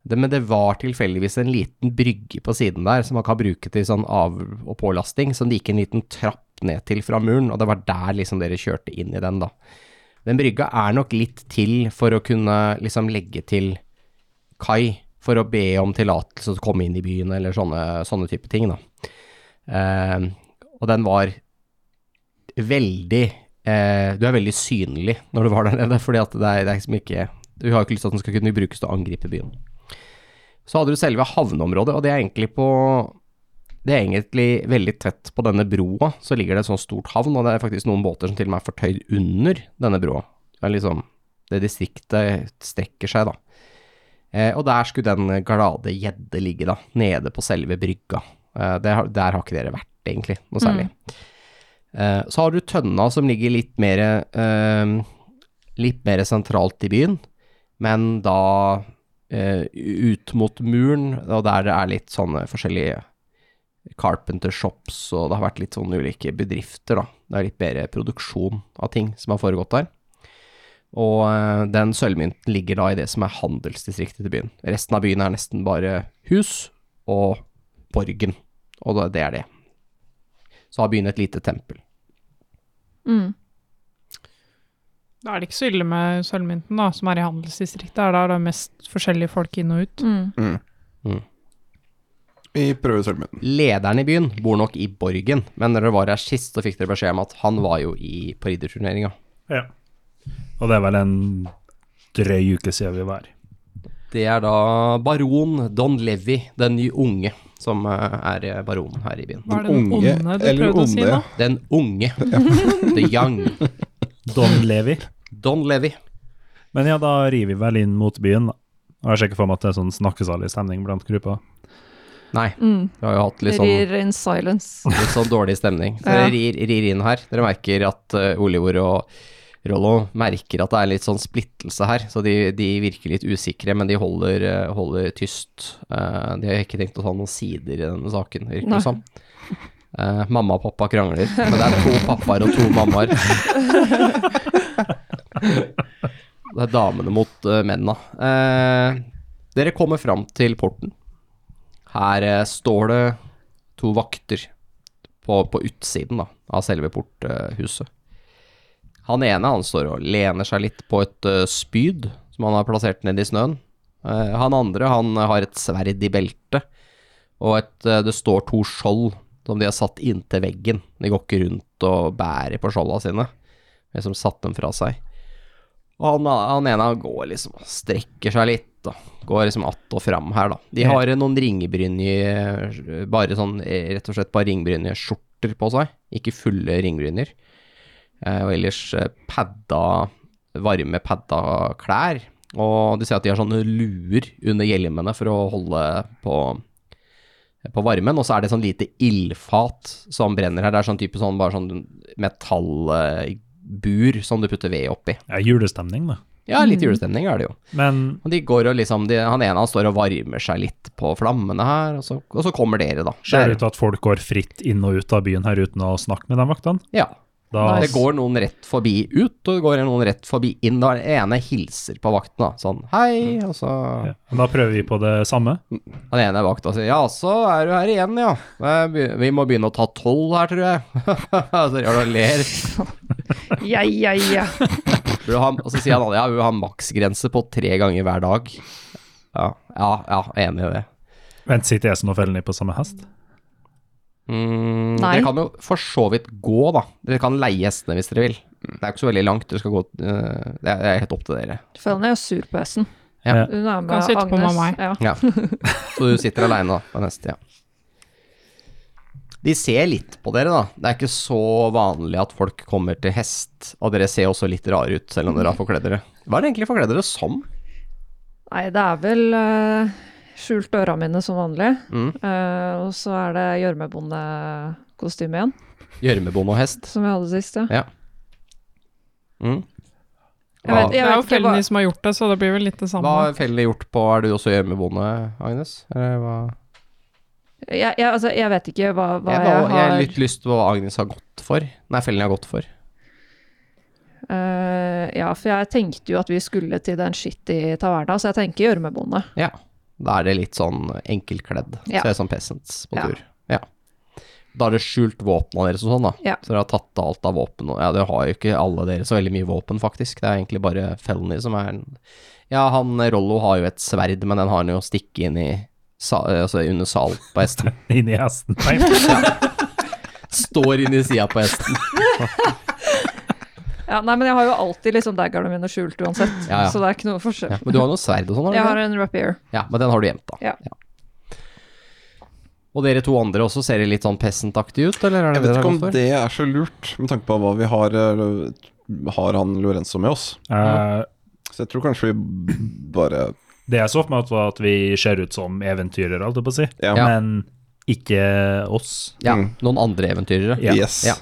Speaker 3: Det, men det var tilfeldigvis en liten brygge på siden der som man kan bruke til sånn av- og pålasting, som det gikk en liten trapp ned til fra muren, og det var der liksom dere kjørte inn i den, da. Den brygga er nok litt til for å kunne liksom legge til kai, for å be om tillatelse til å komme inn i byen, eller sånne, sånne type ting, da. Eh, og den var veldig eh, Du er veldig synlig når du var der nede, fordi at det er, det er liksom ikke Du har jo ikke lyst til at den skal kunne brukes til å angripe byen. Så hadde du selve havneområdet, og det er egentlig på det er egentlig veldig tett på denne broa, så ligger det et sånt stort havn, og det er faktisk noen båter som til og med er fortøyd under denne broa. Det er liksom det distriktet strekker seg, da. Eh, og der skulle den glade gjedde ligge, da, nede på selve brygga. Eh, det har, der har ikke dere vært, egentlig, noe særlig. Eh, så har du tønna som ligger litt mer eh, litt mer sentralt i byen, men da eh, ut mot muren, og der det er litt sånne forskjellige carpenter shops, og det har vært litt sånn ulike bedrifter, da. Det er litt bedre produksjon av ting som har foregått der. Og eh, den sølvmynten ligger da i det som er handelsdistriktet til byen. Resten av byen er nesten bare hus og borgen, og da- det er det. Så har byen et lite tempel.
Speaker 5: Mm.
Speaker 2: Da er det ikke så ille med sølvmynten, da, som er i handelsdistriktet. Er der det er mest forskjellige folk inn og ut.
Speaker 5: Mm.
Speaker 6: Vi prøver sølvmynten.
Speaker 3: Lederen i byen bor nok i borgen, men når dere var her sist, så fikk dere beskjed om at han var jo i, på ridderturneringa.
Speaker 4: Ja. Og det er vel en drøy uke siden vi var her.
Speaker 3: Det er da baron Don Levi, den nye unge, som eh, er baronen her i byen.
Speaker 2: Hva er det den
Speaker 6: Unge,
Speaker 2: onde du
Speaker 6: eller
Speaker 2: prøvde å si
Speaker 6: onde.
Speaker 2: nå?
Speaker 3: Den unge, the young,
Speaker 4: Don Levi.
Speaker 3: Don Levi.
Speaker 4: Men ja, da rir vi vel inn mot byen, da. Og jeg sjekker for meg at det er sånn snakkesalig stemning blant gruppa.
Speaker 3: Nei,
Speaker 5: Mm.
Speaker 3: vi har jo hatt litt sånn,
Speaker 5: Rir in silence.
Speaker 3: litt sånn dårlig stemning. Så
Speaker 5: Ja.
Speaker 3: dere rir, rir inn her. Dere merker at eh, Olivor og Rollo merker at det er litt sånn splittelse her, så de, de virker litt usikre, men de holder, eh, holder tyst. Eh, de har ikke tenkt å ta noen sider i denne saken, virker
Speaker 5: Nei.
Speaker 3: det som. Eh, mamma og pappa krangler, men det er to pappaer og to mammaer. Det er damene mot eh, mennene. Eh, dere kommer fram til porten. Her eh, står det to vakter på, på utsiden da, av selve porthuset. han ene han står og lener seg litt på et eh, spyd som han har plassert ned i snøen. Eh, han andre han har et sverd i beltet, og et, eh, det står to skjold som de har satt inntil veggen. De går ikke rundt og bærer på skjolda sine. De har Liksom satt dem fra seg. Og han, han ene han går liksom og strekker seg litt, da. Går liksom att og fram her, da. De har eh, noen ringbrynje Bare sånn eh, rett og slett bare ringbrynjeskjorter på seg. Ikke fulle ringbrynjer. Eh, Og ellers eh, padda Varme padda klær. Og du ser at de har sånne luer under hjelmene for å holde på på varmen, og så er det sånn lite ildfat som brenner her. Det er sånn type sånn, bare sånn metallbur som du putter ved oppi.
Speaker 4: Ja, julestemning, da.
Speaker 3: Ja, litt julestemning er det jo.
Speaker 4: Men
Speaker 3: Og de går og liksom, de, han ene han står og varmer seg litt på flammene her, og så, og så kommer dere da.
Speaker 4: ser det ut
Speaker 3: Der.
Speaker 4: til at folk går fritt inn og ut av byen her uten å snakke med de vaktene?
Speaker 3: Ja,
Speaker 4: Da
Speaker 3: det går noen rett forbi ut, og det går noen rett forbi inn. Da er det ene hilser på vakten da, sånn hei, og så
Speaker 4: Ja, men Da prøver vi på det samme.
Speaker 3: han ene vakta sier ja, så er du her igjen, ja. Eh, be- Vi må begynne å ta tolv her, tror jeg. så gjør du og ler.
Speaker 5: Ja, ja, ja.
Speaker 3: Vil du ha, og så sier han ja, vi vil ha maksgrense på tre ganger hver dag. Ja, ja, ja enig i det.
Speaker 4: Vent, sitter Esen og Felny på samme hest?
Speaker 3: Mm,
Speaker 5: Nei.
Speaker 3: Dere kan jo for så vidt gå, da. Dere kan leie hestene hvis dere vil. Det er jo ikke så veldig langt. Dere skal gå, eh, det er- det er helt opp til dere.
Speaker 5: Føler jeg er sur på S-en.
Speaker 3: Ja.
Speaker 5: Hun er med
Speaker 2: Kan sitte på med
Speaker 5: Agnes.
Speaker 2: meg.
Speaker 5: Ja.
Speaker 3: Ja. Så du sitter aleine, da, på neste, ja. De ser litt på dere, da. Det er ikke så vanlig at folk kommer til hest, og dere ser også litt rare ut, selv om dere har forkledd dere. Hva er det egentlig forkledd dere som?
Speaker 5: Nei, det er vel eh, skjult øra mine som vanlig.
Speaker 3: Mm.
Speaker 5: Eh, og så er det gjørmebondekostyme igjen.
Speaker 3: Gjørmebond og hest.
Speaker 5: som jeg hadde sist, ja.
Speaker 3: Mm.
Speaker 5: Jeg
Speaker 3: Hva,
Speaker 5: vet-
Speaker 2: Det
Speaker 5: jeg
Speaker 2: er jo
Speaker 5: vet ikke
Speaker 2: Felny
Speaker 5: hva-
Speaker 2: som har gjort det, så det blir vel litt det
Speaker 3: hva
Speaker 2: samme.
Speaker 3: har Felle gjort på Er du også gjørmebonde, Agnes? Eller hva?
Speaker 5: Jeg, jeg, altså, jeg vet ikke hva, hva
Speaker 3: jeg,
Speaker 5: jeg,
Speaker 3: bare- jeg
Speaker 5: har
Speaker 3: har litt lyst på hva Agnes har gått for. Nei, Fellen har gått for.
Speaker 5: Eh, Ja, for jeg tenkte jo at vi skulle til den shitty taverna, så jeg tenker gjørmebonde.
Speaker 3: Ja. Da er det litt sånn enkelkledd.
Speaker 5: Ja.
Speaker 3: Ser ut som sånn peasants på
Speaker 5: Ja.
Speaker 3: tur. Ja. Da er det skjult våpen av deres og sånn, da.
Speaker 5: Ja.
Speaker 3: Så dere har tatt av alt av våpen. og- Ja, dere har jo ikke alle dere så veldig mye våpen, faktisk. Det er egentlig bare Felny som er en- Ja, han Rollo har jo et sverd, men den har han jo stikket inn i sa, altså under sal på hesten.
Speaker 4: Inni hesten. Nei,
Speaker 3: Står inn i sida på hesten.
Speaker 5: Ja, nei, men jeg har jo alltid liksom daggerne mine skjult uansett,
Speaker 3: Ja, ja.
Speaker 5: så det er ikke noe forskjell.
Speaker 3: Ja, men du har noe sverd og sånn? har du
Speaker 5: Jeg
Speaker 3: ikke?
Speaker 5: har en rapier.
Speaker 3: Ja, men den har du gjemt, da.
Speaker 5: Ja.
Speaker 3: Og dere to andre også, ser det litt sånn peasant-aktig ut, eller er det
Speaker 6: Jeg
Speaker 3: dere
Speaker 6: vet ikke
Speaker 3: har gått
Speaker 6: om
Speaker 3: for?
Speaker 6: det er så lurt, med tanke på hva vi har eh, Har han Lorenzo med oss?
Speaker 4: Eh,
Speaker 6: Så jeg tror kanskje vi bare
Speaker 4: det jeg så for meg, at var at vi ser ut som eventyrere, holdt jeg på å si.
Speaker 6: Ja.
Speaker 4: Men ikke oss.
Speaker 3: Ja,
Speaker 6: Mm.
Speaker 3: noen andre eventyrere.
Speaker 4: Ja.
Speaker 6: Yes.
Speaker 3: Ja.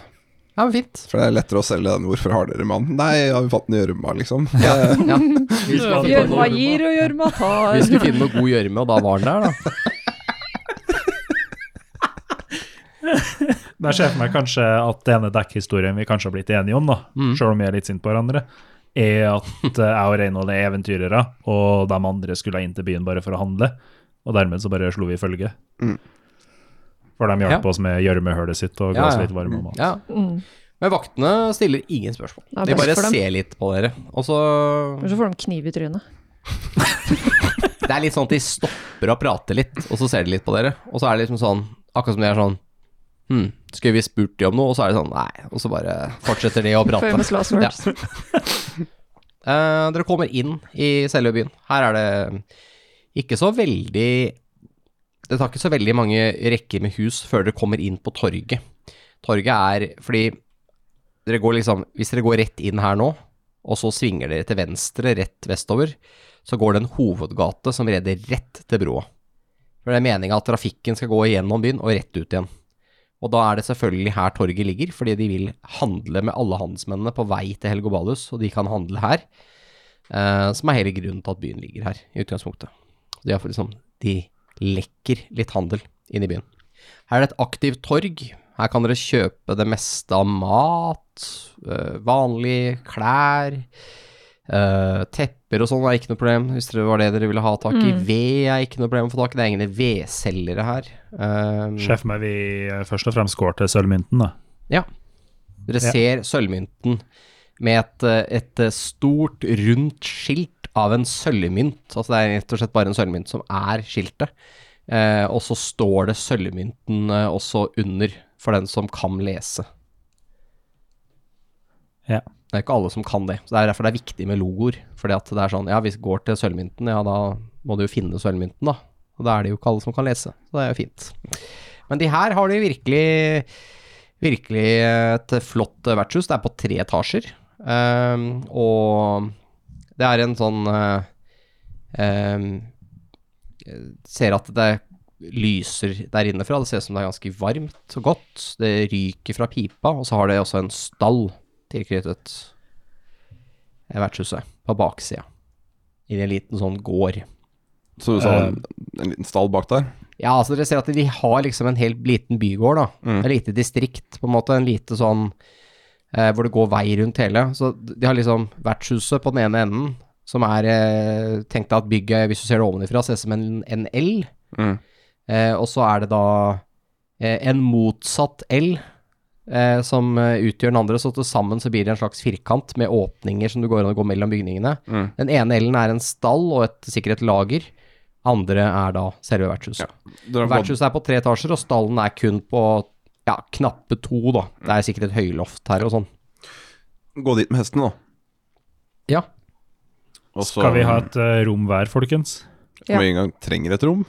Speaker 3: Ja, men fint.
Speaker 6: For det er lettere å selge den 'Hvorfor har dere mann?' Nei, har vi fant den i gjørma, liksom.
Speaker 3: Ja.
Speaker 4: Vi
Speaker 2: Gjør
Speaker 4: skal finne på
Speaker 5: Gjørma
Speaker 4: noe.
Speaker 5: gir og gjørma
Speaker 3: Vi
Speaker 5: tar.
Speaker 3: skulle finne noe god gjørme, og da var den der, da.
Speaker 4: Men Jeg ser for meg kanskje at denne dekkhistorien vi kanskje har blitt enige om, da,
Speaker 3: Mm.
Speaker 4: selv om vi er litt sinte på hverandre, er at eh, jeg og Reinhold er eventyrere, og de andre skulle inn til byen bare for å handle. Og dermed så bare slo vi følge. For de hjalp
Speaker 3: Mm. Ja.
Speaker 4: oss med gjørmehullet sitt og ga
Speaker 3: Ja,
Speaker 4: oss
Speaker 3: ja.
Speaker 4: litt varme mat.
Speaker 3: Ja.
Speaker 5: Mm.
Speaker 3: Men vaktene stiller ingen spørsmål.
Speaker 5: Ja,
Speaker 3: De
Speaker 5: best
Speaker 3: bare
Speaker 5: for dem.
Speaker 3: ser litt på dere. Og så
Speaker 5: Men så får de kniv i trynet.
Speaker 3: Det er litt sånn at de stopper og prater litt, og så ser de litt på dere. Og så er det liksom sånn Akkurat som de er sånn Hm, skulle vi spurt de om noe? Og så er det sånn Nei. Og så bare fortsetter de å prate.
Speaker 5: Famous last words.
Speaker 3: Ja. Eh, dere kommer inn i selve byen. Her er det ikke så veldig Det tar ikke så veldig mange rekker med hus før dere kommer inn på torget. Torget er fordi dere går liksom Hvis dere går rett inn her nå, og så svinger dere til venstre, rett vestover, så går det en hovedgate som reder rett til broa. For det er meninga at trafikken skal gå gjennom byen og rett ut igjen. Og da er det selvfølgelig her torget ligger, fordi de vil handle med alle handelsmennene på vei til Helgoballus, og de kan handle her. eh, som er hele grunnen til at byen ligger her, i utgangspunktet. Så de, er for liksom, de lekker litt handel inn i byen. Her er det et aktivt torg. Her kan dere kjøpe det meste av mat, eh, vanlige klær, eh, tepper og sånn er ikke noe problem, hvis det var det dere ville ha tak i. Ved er ikke noe problem å få tak i, det er egne vedselgere her. Um,
Speaker 4: Ser for meg vi eh, først og fremst går til sølvmynten, da.
Speaker 3: ja. Dere
Speaker 4: Ja.
Speaker 3: ser sølvmynten med et, eh, et eh, stort, rundt skilt av en sølvmynt. Altså det er rett og slett bare en sølvmynt som er skiltet. Eh, og så står det sølvmynten eh, også under, for den som kan lese.
Speaker 4: Ja.
Speaker 3: Det er ikke alle som kan det. Så Det er derfor det er viktig med logoer. Fordi at det er sånn, ja, hvis vi går til sølvmynten, ja, da må du jo finne sølvmynten, da. Og da er det jo ikke alle som kan lese. Så det er jo fint. Men de her har de virkelig Virkelig et flott eh, vertshus. Det er på tre etasjer. Ehm, og det er en sånn eh, ehm, eh, Ser at det lyser der inne fra. Det ser ut som det er ganske varmt og godt. Det ryker fra pipa, og så har det også en stall tilknyttet eh, vertshuset på baksida. I en liten sånn gård.
Speaker 6: Så du sa en, eh, en liten stall bak der?
Speaker 3: Ja, altså dere ser at de har liksom en helt liten bygård, da.
Speaker 6: Mm.
Speaker 3: Et lite distrikt, på en måte. En lite sånn eh, hvor det går vei rundt hele. Så de har liksom vertshuset på den ene enden, som er eh, Tenk deg at bygget, hvis du ser det ovenifra, ser ut som en, en L.
Speaker 6: Mm.
Speaker 3: Eh, og så er det da eh, en motsatt L. Eh, som eh, utgjør den andre, så til sammen så blir det en slags firkant med åpninger som du går an å gå mellom bygningene.
Speaker 6: Mm.
Speaker 3: Den ene L-en er en stall og et, sikkert et lager. Andre er da selve vertshuset.
Speaker 6: Dere har gått,
Speaker 3: Vertshuset er på tre etasjer, og stallen er kun på ja, knappe to, da. Det er sikkert et høyloft her og sånn.
Speaker 6: gå dit med hesten, da.
Speaker 3: Ja.
Speaker 6: Og så-
Speaker 4: Skal vi ha et eh, rom hver, folkens?
Speaker 6: Om vi engang trenger et rom?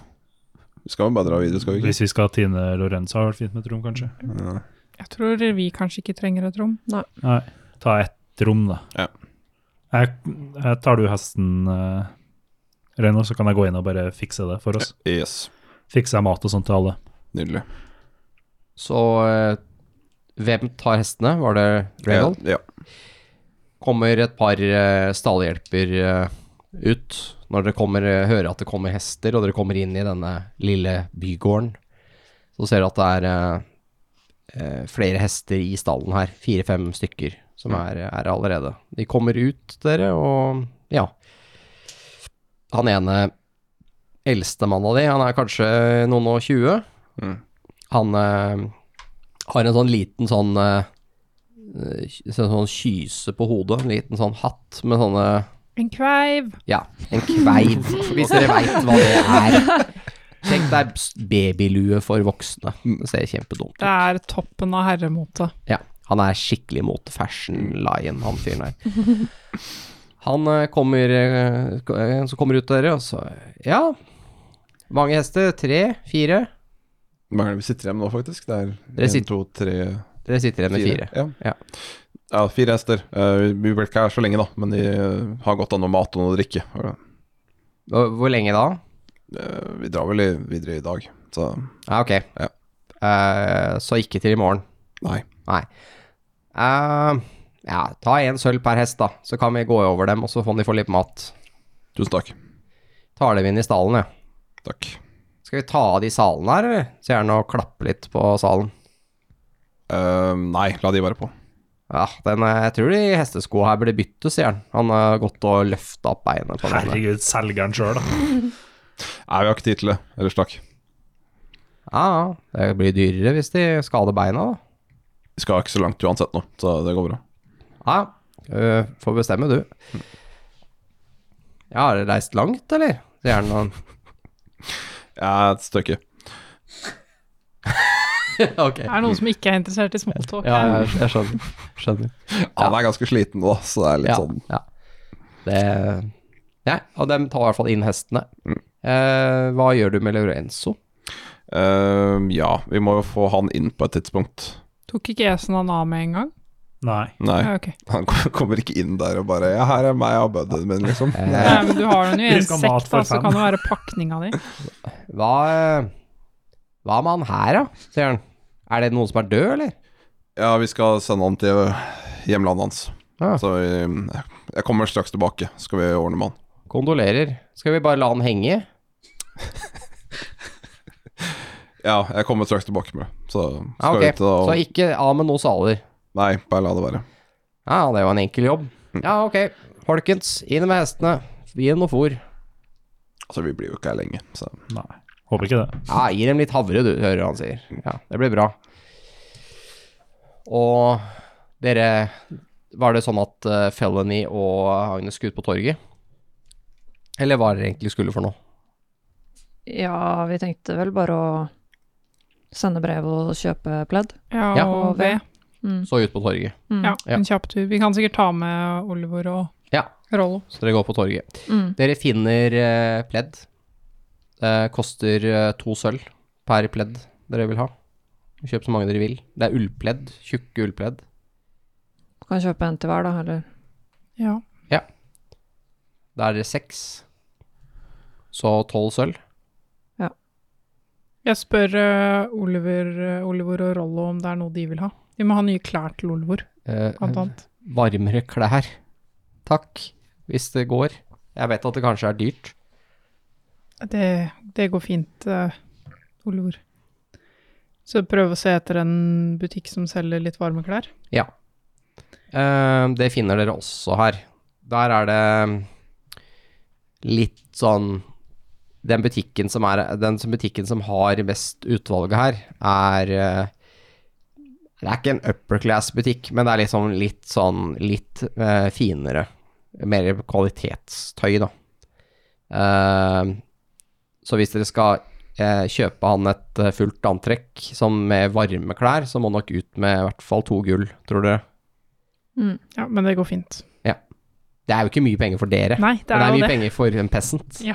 Speaker 6: Vi skal jo bare dra videre, skal vi ikke?
Speaker 4: Hvis vi skal ha Tine Lorenzo, har det vært fint med et rom, kanskje?
Speaker 2: Jeg tror vi kanskje ikke trenger et rom.
Speaker 4: Nei, ta ett rom, da.
Speaker 6: Ja.
Speaker 4: Jeg, jeg tar du hesten, uh, Reino, så kan jeg gå inn og bare fikse det for oss.
Speaker 6: Yes.
Speaker 4: Fikser jeg mat og sånt til alle.
Speaker 6: Nydelig.
Speaker 3: Så eh, Hvem tar hestene? Var det Reynold?
Speaker 6: Eh, Ja.
Speaker 3: Kommer et par eh, stallhjelper eh, ut når dere kommer, eh, hører at det kommer hester, og dere kommer inn i denne lille bygården. Så ser dere at det er eh, eh, flere hester i stallen her. Fire-fem stykker som er, er allerede. De kommer ut, dere, og ja. Han ene eldste mannen av de, han er kanskje noen og tjue.
Speaker 6: Mm.
Speaker 3: Han eh, har en sånn liten sånn eh, eh, sånn, sånn kyse på hodet, en liten sånn hatt med sånne
Speaker 2: En kveiv!
Speaker 3: Ja, en kveiv, hvis dere veit hva det er. Tenk deg s- babylue for voksne. Mm, Det ser kjempedumt
Speaker 2: Det
Speaker 3: ut.
Speaker 2: er toppen av herremote.
Speaker 3: Ja, han er skikkelig mot fashion lion, han fyren her. Han eh, kommer eh, ko- eh, Så kommer ut dere, og så Ja, mange hester? Tre? Fire?
Speaker 6: Mangler vi sitter igjen nå, faktisk? Det er
Speaker 3: Dere
Speaker 6: en,
Speaker 3: sitter-
Speaker 6: to, tre
Speaker 3: Dere sitter igjen med fire.
Speaker 6: Ja.
Speaker 3: Ja.
Speaker 6: Ja. fire hester. Eh, vi ble ikke her så lenge, da, men de eh, har godt av noe mat og noe å drikke. Og,
Speaker 3: Hvor hvor lenge da?
Speaker 6: eh, vi drar vel i, videre i dag, så
Speaker 3: Ja, ok.
Speaker 6: Ja.
Speaker 3: Eh, så ikke til i morgen.
Speaker 6: Nei.
Speaker 3: Nei. Eh, ja, ta en sølv per hest, da. Så kan vi gå over dem, og så får de få litt mat.
Speaker 6: tusen takk.
Speaker 3: Tar dem inn i stallen, ja.
Speaker 6: Takk.
Speaker 3: Skal vi ta av de salene her, eller? Så gjerne å klappe litt på salen.
Speaker 6: Eh, nei, la de være på.
Speaker 3: Ja, den, eh, jeg tror de hesteskoa her burde byttes, sier han. Han har gått og løfta opp beinet på den.
Speaker 4: Herregud, selgeren sjøl, da.
Speaker 6: Nei, vi har ikke tid til det. Ellers takk.
Speaker 3: Ja, ja. Det blir dyrere hvis de skader beina, da.
Speaker 6: Vi skal ikke så langt uansett nå, så det går bra.
Speaker 3: Ja, øh, får bestemme, du. Ja, har dere reist langt, eller? Sier han. og-
Speaker 6: Jeg er et stykke.
Speaker 3: Ok.
Speaker 2: Det er noen som ikke er interessert i småtalk.
Speaker 3: Ja,
Speaker 2: her.
Speaker 3: jeg, jeg skjønner. skjønner.
Speaker 6: Han er ganske sliten nå, så det er litt
Speaker 3: Ja,
Speaker 6: sånn
Speaker 3: ja. Det, ja, og de tar i hvert fall inn hestene.
Speaker 6: Mm.
Speaker 3: Eh, hva gjør du med Lorenzo?
Speaker 6: Eh, Ja, vi må jo få han inn på et tidspunkt.
Speaker 2: Tok ikke jeg sånn han av med en gang?
Speaker 4: Nei.
Speaker 6: Nei,
Speaker 2: Ja, ok.
Speaker 6: han kom- kommer ikke inn der og bare Ja, her er meg og buddyen min, liksom.
Speaker 3: Eh,
Speaker 2: Nei, men du har den jo i
Speaker 4: Vi
Speaker 2: en
Speaker 4: skal ha mat
Speaker 2: sekk, da,
Speaker 4: for
Speaker 2: så
Speaker 4: fem.
Speaker 2: kan det være pakninga di.
Speaker 3: hva, hva med han her, da? Sier han. Er det noen som er død, eller?
Speaker 6: Ja, vi skal sende han til hjemlandet hans.
Speaker 3: Ja.
Speaker 6: Så vi, jeg kommer straks tilbake, så skal vi ordne med han.
Speaker 3: Kondolerer. Skal vi bare la han henge?
Speaker 6: Ja, jeg kommer straks tilbake med det. Så
Speaker 3: Ja,
Speaker 6: skal
Speaker 3: Ah, ok.
Speaker 6: vi ut og
Speaker 3: Så ikke av med noen saler.
Speaker 6: Nei, bare la det være.
Speaker 3: Ja, det var en enkel jobb.
Speaker 6: Mm.
Speaker 3: Ja, ok. Folkens, inn med hestene. Gi dem noe fôr.
Speaker 6: Altså, vi blir jo ikke her lenge, så
Speaker 4: Nei. Håper ikke det.
Speaker 3: Ja, gi dem litt havre, du, hører han sier. Ja, det blir bra. Og dere Var det sånn at eh, Felony og Agnes skulle ut på torget? Eller hva dere egentlig skulle for noe?
Speaker 5: Ja, vi tenkte vel bare å sende brev og kjøpe pledd.
Speaker 2: Ja,
Speaker 3: Ja.
Speaker 2: og ved.
Speaker 3: Så ut på torget.
Speaker 5: Mm.
Speaker 2: Ja,
Speaker 3: Ja.
Speaker 2: en kjapp tur. Vi kan sikkert ta med Oliver og
Speaker 3: Ja.
Speaker 2: Rollo.
Speaker 3: Så dere går på torget.
Speaker 5: Mm.
Speaker 3: Dere finner eh, pledd. Det koster eh, to sølv per pledd dere vil ha. Kjøp så mange dere vil. Det er ullpledd. Tjukke ullpledd.
Speaker 5: Kan kjøpe en til hver, da, eller
Speaker 2: Ja.
Speaker 3: Da er dere seks. Så tolv sølv.
Speaker 2: Jeg spør eh, Oliver, eh, Oliver og Rollo om det er noe de vil ha. Vi må ha nye klær til Oliver,
Speaker 3: Eh,
Speaker 2: blant annet.
Speaker 3: varmere klær. Takk, hvis det går. Jeg vet at det kanskje er dyrt.
Speaker 2: Det, det går fint, eh, Oliver. Så prøv å se etter en butikk som selger litt varme klær.
Speaker 3: Ja. Eh, det finner dere også her. Der er det ehm, litt sånn Den butikken som, er, den som, butikken som har best utvalget her, er eh, Det er ikke en upper class-butikk, men det er liksom litt sånn litt eh, finere. Mer kvalitetstøy, da. Eh, så hvis dere skal eh, kjøpe han et eh, fullt antrekk som med varme klær, så må nok ut med i hvert fall to gull, tror dere.
Speaker 2: Ja, men det går fint.
Speaker 3: Det er jo ikke mye penger for dere,
Speaker 2: Nei, det
Speaker 3: men det
Speaker 2: er
Speaker 3: er
Speaker 2: jo
Speaker 3: mye
Speaker 2: det.
Speaker 3: penger for en peasant.
Speaker 2: Ja.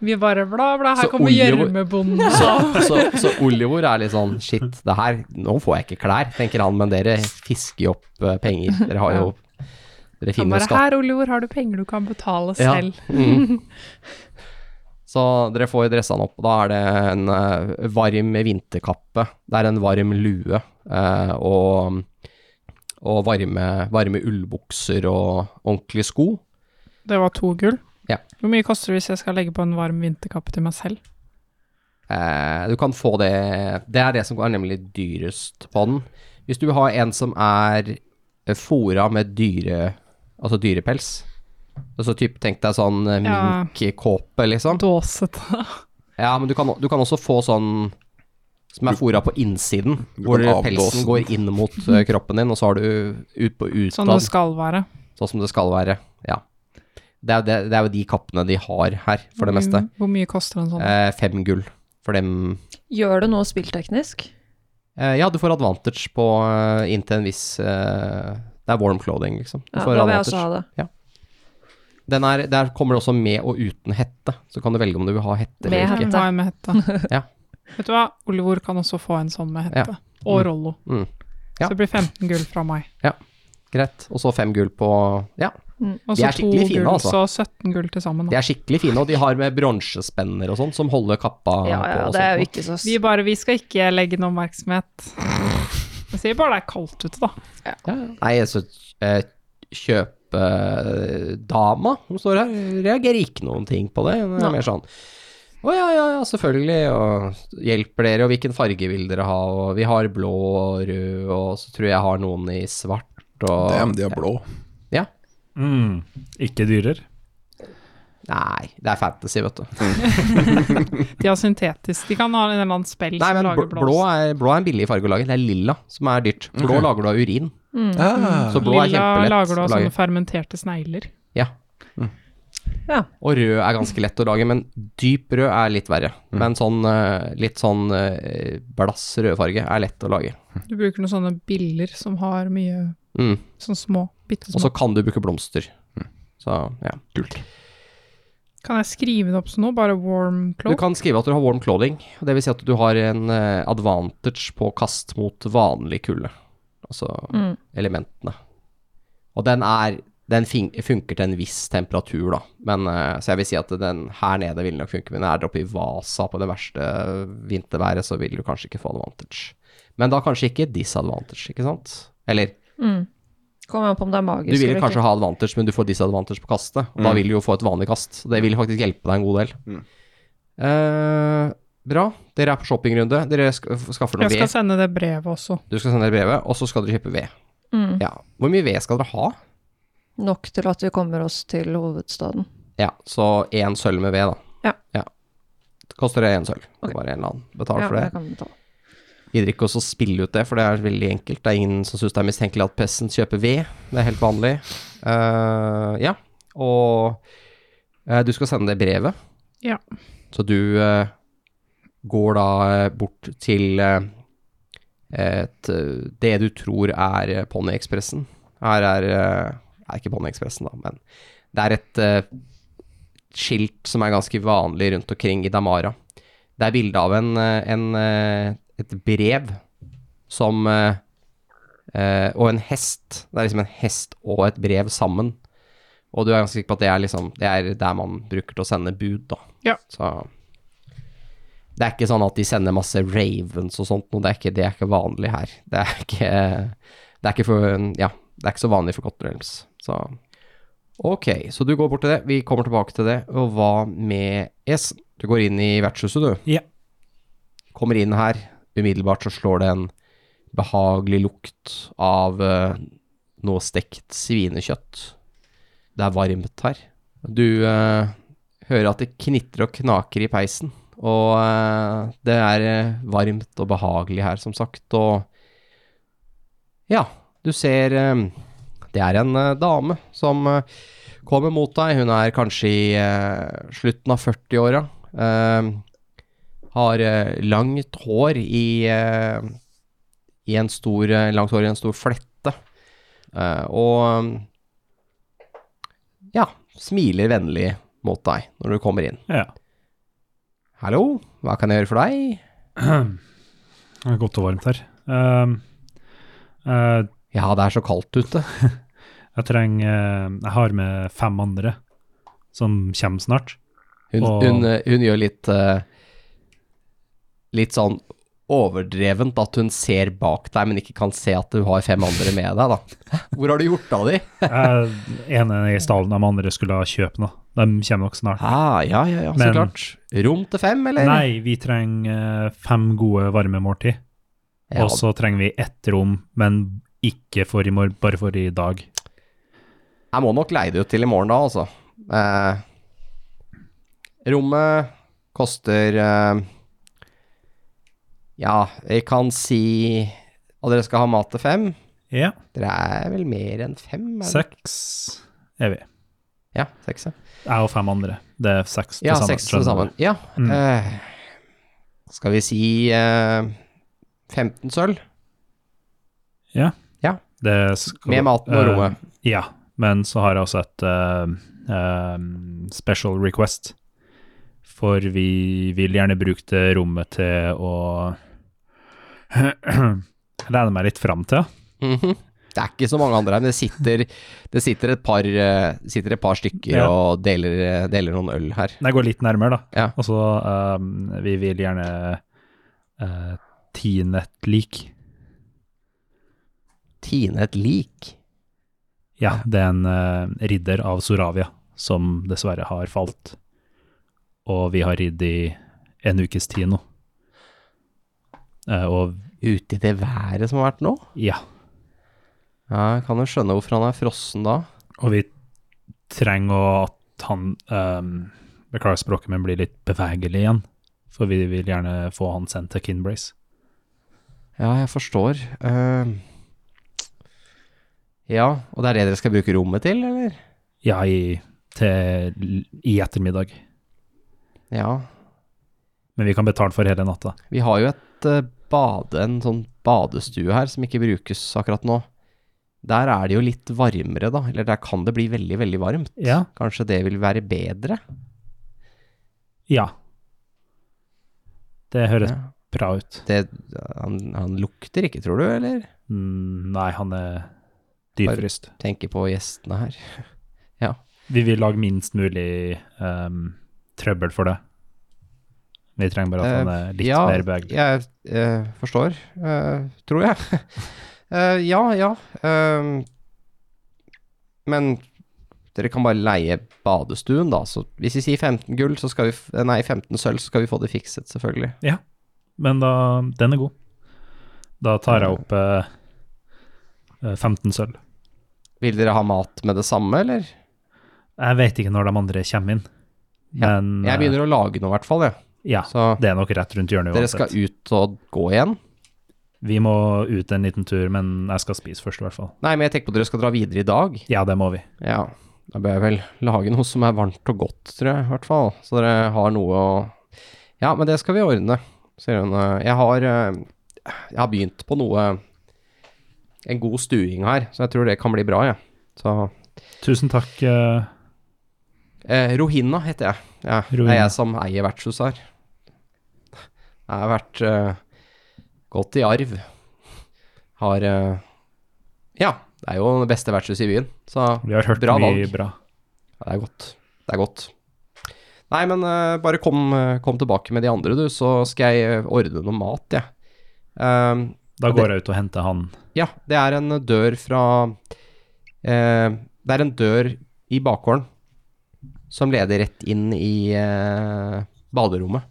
Speaker 2: Vi bare bla, bla, her
Speaker 3: Så
Speaker 2: kommer
Speaker 3: Oliver-
Speaker 2: gjørmebonden.
Speaker 3: Så, så, så Olivor er litt sånn shit, det her, nå får jeg ikke klær, tenker han, men dere fisker jo opp eh, penger. Dere har jo Dere
Speaker 2: Han
Speaker 3: finner jo
Speaker 2: bare
Speaker 3: skatt.
Speaker 2: her, Oliver, har du penger du kan betale
Speaker 3: Ja.
Speaker 2: selv?
Speaker 3: Mm. Så dere får dressene opp, og da er det en eh, varm vinterkappe, det er en varm lue, eh, og, og varme, varme ullbukser og ordentlige sko.
Speaker 2: Det var to gull.
Speaker 3: Ja.
Speaker 2: Hvor mye koster det hvis jeg skal legge på en varm vinterkappe til meg selv?
Speaker 3: Eh, du kan få det Det er det som er nemlig dyrest på den. Hvis du vil ha en som er eh, fôra med dyre Altså dyrepels. Altså typ, tenk deg sånn eh,
Speaker 2: Ja.
Speaker 3: minkkåpe, liksom.
Speaker 2: Dåsete.
Speaker 3: Ja, men du kan, du kan også få sånn som er fôra på innsiden,
Speaker 6: du
Speaker 3: hvor
Speaker 6: kan avblåse
Speaker 3: pelsen går inn mot eh, kroppen din, og så har du ut på utad,
Speaker 2: Sånn det skal være.
Speaker 3: sånn som det skal være. Ja. Det er, jo det, det er jo de kappene de har her, for
Speaker 2: Mm.
Speaker 3: det meste.
Speaker 2: Hvor mye koster en sånn?
Speaker 3: Eh, fem gull for dem
Speaker 5: Gjør det noe spillteknisk?
Speaker 3: Eh, ja, du får advantage på eh, inntil en viss eh, Det er warm clothing, liksom. Du
Speaker 5: Ja,
Speaker 3: får
Speaker 5: da vil jeg også ha
Speaker 3: advantage.
Speaker 5: det.
Speaker 3: Den er, der kommer det også med og uten hette. Så kan du velge om du vil ha hette
Speaker 5: Med
Speaker 3: eller
Speaker 2: Jeg
Speaker 3: ikke.
Speaker 2: må ha en med hette.
Speaker 3: Ja.
Speaker 2: Vet du hva, Olivor kan også få en sånn med hette. Og Rollo.
Speaker 3: Mm.
Speaker 2: Så
Speaker 3: Ja.
Speaker 2: det blir 15 gull fra meg.
Speaker 3: Greit. Og så fem gull på Ja,
Speaker 2: Og
Speaker 3: De
Speaker 2: så
Speaker 3: er
Speaker 2: to
Speaker 3: skikkelig fine,
Speaker 2: gull,
Speaker 3: altså.
Speaker 2: så 17 gull til sammen.
Speaker 3: de
Speaker 2: Da.
Speaker 3: er skikkelig fine, og de har med bronsespenner og sånn som holder kappa
Speaker 5: Ja, ja,
Speaker 3: på. og sånn.
Speaker 5: det er jo
Speaker 3: sånt.
Speaker 5: ikke så s-
Speaker 2: Vi bare, vi skal ikke legge noen oppmerksomhet. Jeg sier bare det er kaldt ute, da.
Speaker 3: Ja, ja. Nei, så eh, kjøpedama som står her, reagerer ikke noen ting på det. Hun
Speaker 5: Nei.
Speaker 3: er mer sånn å ja, ja, ja, selvfølgelig, og hjelper dere, og hvilken farge vil dere ha, og vi har blå og rød, og så tror jeg jeg har noen i svart, og
Speaker 6: Damn, de er blå.
Speaker 4: Mm. Ikke dyrer.
Speaker 3: Nei, det er fantasy, vet du.
Speaker 2: De har syntetisk. De kan ha en eller annen spell
Speaker 3: Nei,
Speaker 2: som
Speaker 3: men
Speaker 2: lager
Speaker 3: bl- blå
Speaker 2: blås.
Speaker 3: er, blå er en billig farge å lage, det er lilla som er dyrt. Blå
Speaker 6: Ok.
Speaker 3: lager du av urin,
Speaker 6: Ah,
Speaker 3: så blå er
Speaker 2: Lilla
Speaker 3: kjempelett
Speaker 2: lager du
Speaker 3: å
Speaker 2: av
Speaker 3: lage.
Speaker 2: sånne fermenterte snegler.
Speaker 3: Ja.
Speaker 5: Ja.
Speaker 3: Og rød er ganske lett å lage, men dyp rød er litt verre. Men sånn eh, litt sånn eh, blass rødfarge er lett å lage.
Speaker 2: Du bruker noen sånne biller som har mye
Speaker 3: Mm.
Speaker 2: sånn små, bitte
Speaker 3: Og
Speaker 2: små.
Speaker 3: så kan du bruke blomster. Så ja.
Speaker 6: kult.
Speaker 2: Kan jeg skrive det opp som noe? Bare warm
Speaker 3: Du
Speaker 2: cloak?
Speaker 3: kan skrive at du har warm clothing. og Det vil si at du har en eh, advantage på kast mot vanlig kulde. Altså
Speaker 5: Mm.
Speaker 3: elementene. Og den er den fin- funker til en viss temperatur, da. Men, eh, så jeg vil si at den her nede vil nok funke, men er dere oppe i Vasa på det verste vinterværet, så vil du kanskje ikke få advantage. Men da kanskje ikke disadvantage, ikke sant? Eller
Speaker 5: Mm. Kommer an på om det er
Speaker 3: du
Speaker 5: magisk
Speaker 3: vil
Speaker 5: eller ikke.
Speaker 3: kanskje ha advantage, men du får disadvantage på kastet. Og da vil du jo få et vanlig kast. Det vil faktisk hjelpe deg en god del. Eh, bra. Dere er på shoppingrunde. Dere sk skaffer noe
Speaker 2: Jeg skal
Speaker 3: ved.
Speaker 2: sende det brevet også.
Speaker 3: Du skal sende dere brevet, og så skal dere kjøpe ved.
Speaker 5: Mm.
Speaker 3: Ja. Hvor mye ved skal dere ha?
Speaker 5: Nok til at vi kommer oss til hovedstaden.
Speaker 3: Ja, så én sølv med ved, da.
Speaker 5: Ja.
Speaker 3: Det koster det én sølv. Det
Speaker 5: Ok.
Speaker 3: er Bare en eller annen betaler
Speaker 5: Ja,
Speaker 3: for
Speaker 5: det
Speaker 3: det.
Speaker 5: kan vi ta.
Speaker 3: Gidder ikke også å spille ut det, for det er veldig enkelt. Det er ingen som syns det er mistenkelig at pressen kjøper ved. Det er helt vanlig. Eh, ja, og eh, du skal sende det brevet.
Speaker 2: Ja.
Speaker 3: Så du eh, går da eh, bort til eh, et, eh, det du tror er eh, Ponyekspressen. Her er eh, er ikke Ponyekspressen, da, men det er et eh, skilt som er ganske vanlig rundt omkring i Damara. Det er bilde av en, eh, en, eh, et brev som eh, eh, Og en hest. Det er liksom en hest og et brev sammen. Og du er ganske sikker på at det er liksom Det er der man bruker til å sende bud, da.
Speaker 2: Ja.
Speaker 3: Så det er ikke sånn at de sender masse ravens og sånt noe. Det er ikke, det er ikke vanlig her. Det er ikke Det er ikke for Ja, det er ikke så vanlig for Cotton Realms. Så Ok, så du går bort til det. Vi kommer tilbake til det. Og hva med Yes, du går inn i vertshuset, du.
Speaker 4: Ja.
Speaker 3: Kommer inn her. Umiddelbart så slår det en behagelig lukt av eh, noe stekt svinekjøtt. Det er varmt her. Du eh, hører at det knitrer og knaker i peisen. Og eh, det er eh, varmt og behagelig her, som sagt. Og ja, du ser eh, Det er en eh, dame som eh, kommer mot deg. Hun er kanskje i eh, slutten av 40-åra. Eh, har eh, langt hår i, eh, i en stor, eh, langt hår i en stor flette. Eh, og mm, ja, smiler vennlig mot deg når du kommer inn.
Speaker 4: Ja.
Speaker 3: Hallo, hva kan jeg gjøre for deg?
Speaker 4: Det er godt og varmt her. Ehm, eh,
Speaker 3: Ja, det er så kaldt ute.
Speaker 4: jeg trenger eh, Jeg har med fem andre som kommer snart.
Speaker 3: Hun,
Speaker 4: Og-
Speaker 3: hun, eh, hun gjør litt eh, Litt sånn overdrevent at hun ser bak deg, men ikke kan se at du har fem andre med deg, da. Hvor har du gjort av de?
Speaker 4: Jeg, ene i stallen de andre skulle ha kjøpt nå. De kommer nok snart.
Speaker 3: Ah, ja, ja, ja, så
Speaker 4: Men-
Speaker 3: klart. Rom til fem, eller?
Speaker 4: Nei, vi trenger eh, fem gode varmemåltid.
Speaker 3: Ja,
Speaker 4: Og så trenger vi ett rom, men ikke for i morgen, bare for i dag.
Speaker 3: Jeg må nok leie det ut til i morgen da, altså. Eh, rommet koster eh, Ja, jeg kan si Og dere skal ha mat til fem?
Speaker 4: Ja.
Speaker 3: Dere er vel mer enn fem? er det?
Speaker 4: Seks er vi.
Speaker 3: Ja, seks. Ja,
Speaker 4: Jeg og fem andre. Det er seks til
Speaker 3: ja
Speaker 4: sammen.
Speaker 3: seks til sammen.
Speaker 4: skjønner du.
Speaker 3: Ja.
Speaker 4: Mm.
Speaker 3: Eh, skal vi si eh, 15 sølv?
Speaker 4: Det skal-
Speaker 3: Med maten og
Speaker 4: eh,
Speaker 3: rommet.
Speaker 4: Ja, men så har jeg også et eh, eh, special request. For vi vil gjerne bruke det rommet til å lene meg litt fram til.
Speaker 3: Mhm. Det er ikke så mange andre her, men det sitter, det sitter, et, par, eh, sitter et par stykker
Speaker 4: Ja.
Speaker 3: og deler, deler noen øl her.
Speaker 4: Jeg går litt nærmere, da.
Speaker 3: Ja.
Speaker 4: Og så eh, Vi vil gjerne uh, tine et lik.
Speaker 3: Tine et lik.
Speaker 4: Ja, det er en eh, ridder av Soravia som dessverre har falt. Og vi har ridd i en ukes tid nå. Eh, og
Speaker 3: Ute i det været som har vært nå?
Speaker 4: ja,
Speaker 3: Ja, jeg kan jo skjønne hvorfor han er frossen da.
Speaker 4: og vi trenger å- at han eh, Beklager språket, men blir litt bevegelig igjen. For vi vil gjerne få han sendt til Kinbrace.
Speaker 3: Ja, jeg forstår. Ehm. ja, og det er det dere skal bruke rommet til, eller?
Speaker 4: Ja, i, til, i ettermiddag.
Speaker 3: Ja.
Speaker 4: Men vi kan betale for hele natta.
Speaker 3: Vi har jo et eh, bade, en sånn badestue her som ikke brukes akkurat nå. Der er det jo litt varmere, da. Eller der kan det bli veldig, veldig varmt.
Speaker 4: Ja.
Speaker 3: Kanskje det vil være bedre?
Speaker 4: Ja. Det høres
Speaker 3: Ja.
Speaker 4: bra ut.
Speaker 3: Det, han, han lukter ikke, tror du, eller?
Speaker 4: Mm, nei, han er dypfryst.
Speaker 3: Tenker på gjestene her.
Speaker 4: Vi vil lage minst mulig ehm, trøbbel for det. Vi trenger bare at han er litt
Speaker 3: Eh, ja,
Speaker 4: mer bevegelig.
Speaker 3: Jeg eh, forstår, eh, tror jeg. Eh, ja, ja. ehm, men dere kan bare leie badestuen, da. Så hvis vi sier 15 gull, så skal vi f eh, Nei, 15 sølv, så skal vi få det fikset, selvfølgelig.
Speaker 4: Men da, den er god. Da tar jeg opp eh, eh, 15 sølv.
Speaker 3: Vil dere ha mat med det samme, eller?
Speaker 4: Jeg vet ikke når de andre kommer inn,
Speaker 3: Ja,
Speaker 4: men
Speaker 3: Jeg
Speaker 4: eh,
Speaker 3: begynner å lage noe, i hvert fall. Ja.
Speaker 4: Ja,
Speaker 3: Så
Speaker 4: det er nok rett rundt hjørnet
Speaker 3: dere skal ut og gå igjen?
Speaker 4: Vi må ut en liten tur, men jeg skal spise først, i hvert fall.
Speaker 3: Nei, men jeg tenker på at dere skal dra videre i dag.
Speaker 4: Ja, det må vi.
Speaker 3: Ja, da bør jeg vel lage noe som er varmt og godt, tror jeg, i hvert fall. Så dere har noe å Ja, men det skal vi ordne, sier hun. Jeg har, eh, jeg har begynt på noe En god stuing her, så jeg tror det kan bli bra, jeg. Så
Speaker 4: Tusen takk. eh,
Speaker 3: eh, Rohina heter jeg. Ja, Det
Speaker 4: Rohina.
Speaker 3: er jeg som eier vertshuset her. Jeg har vært eh, godt i arv. Har eh, Ja, det er jo det beste vertshuset i byen, så
Speaker 4: vi har hørt
Speaker 3: Bra
Speaker 4: mye
Speaker 3: valg.
Speaker 4: bra.
Speaker 3: Ja, det er godt. Det er godt. Nei, men eh, bare kom, eh, kom tilbake med de andre, du, så skal jeg eh, ordne noe mat, jeg. Ehm,
Speaker 4: Da går jeg ut og henter han.
Speaker 3: ja, det er en dør fra eh, Det er en dør i bakgården som leder rett inn i eh, baderommet.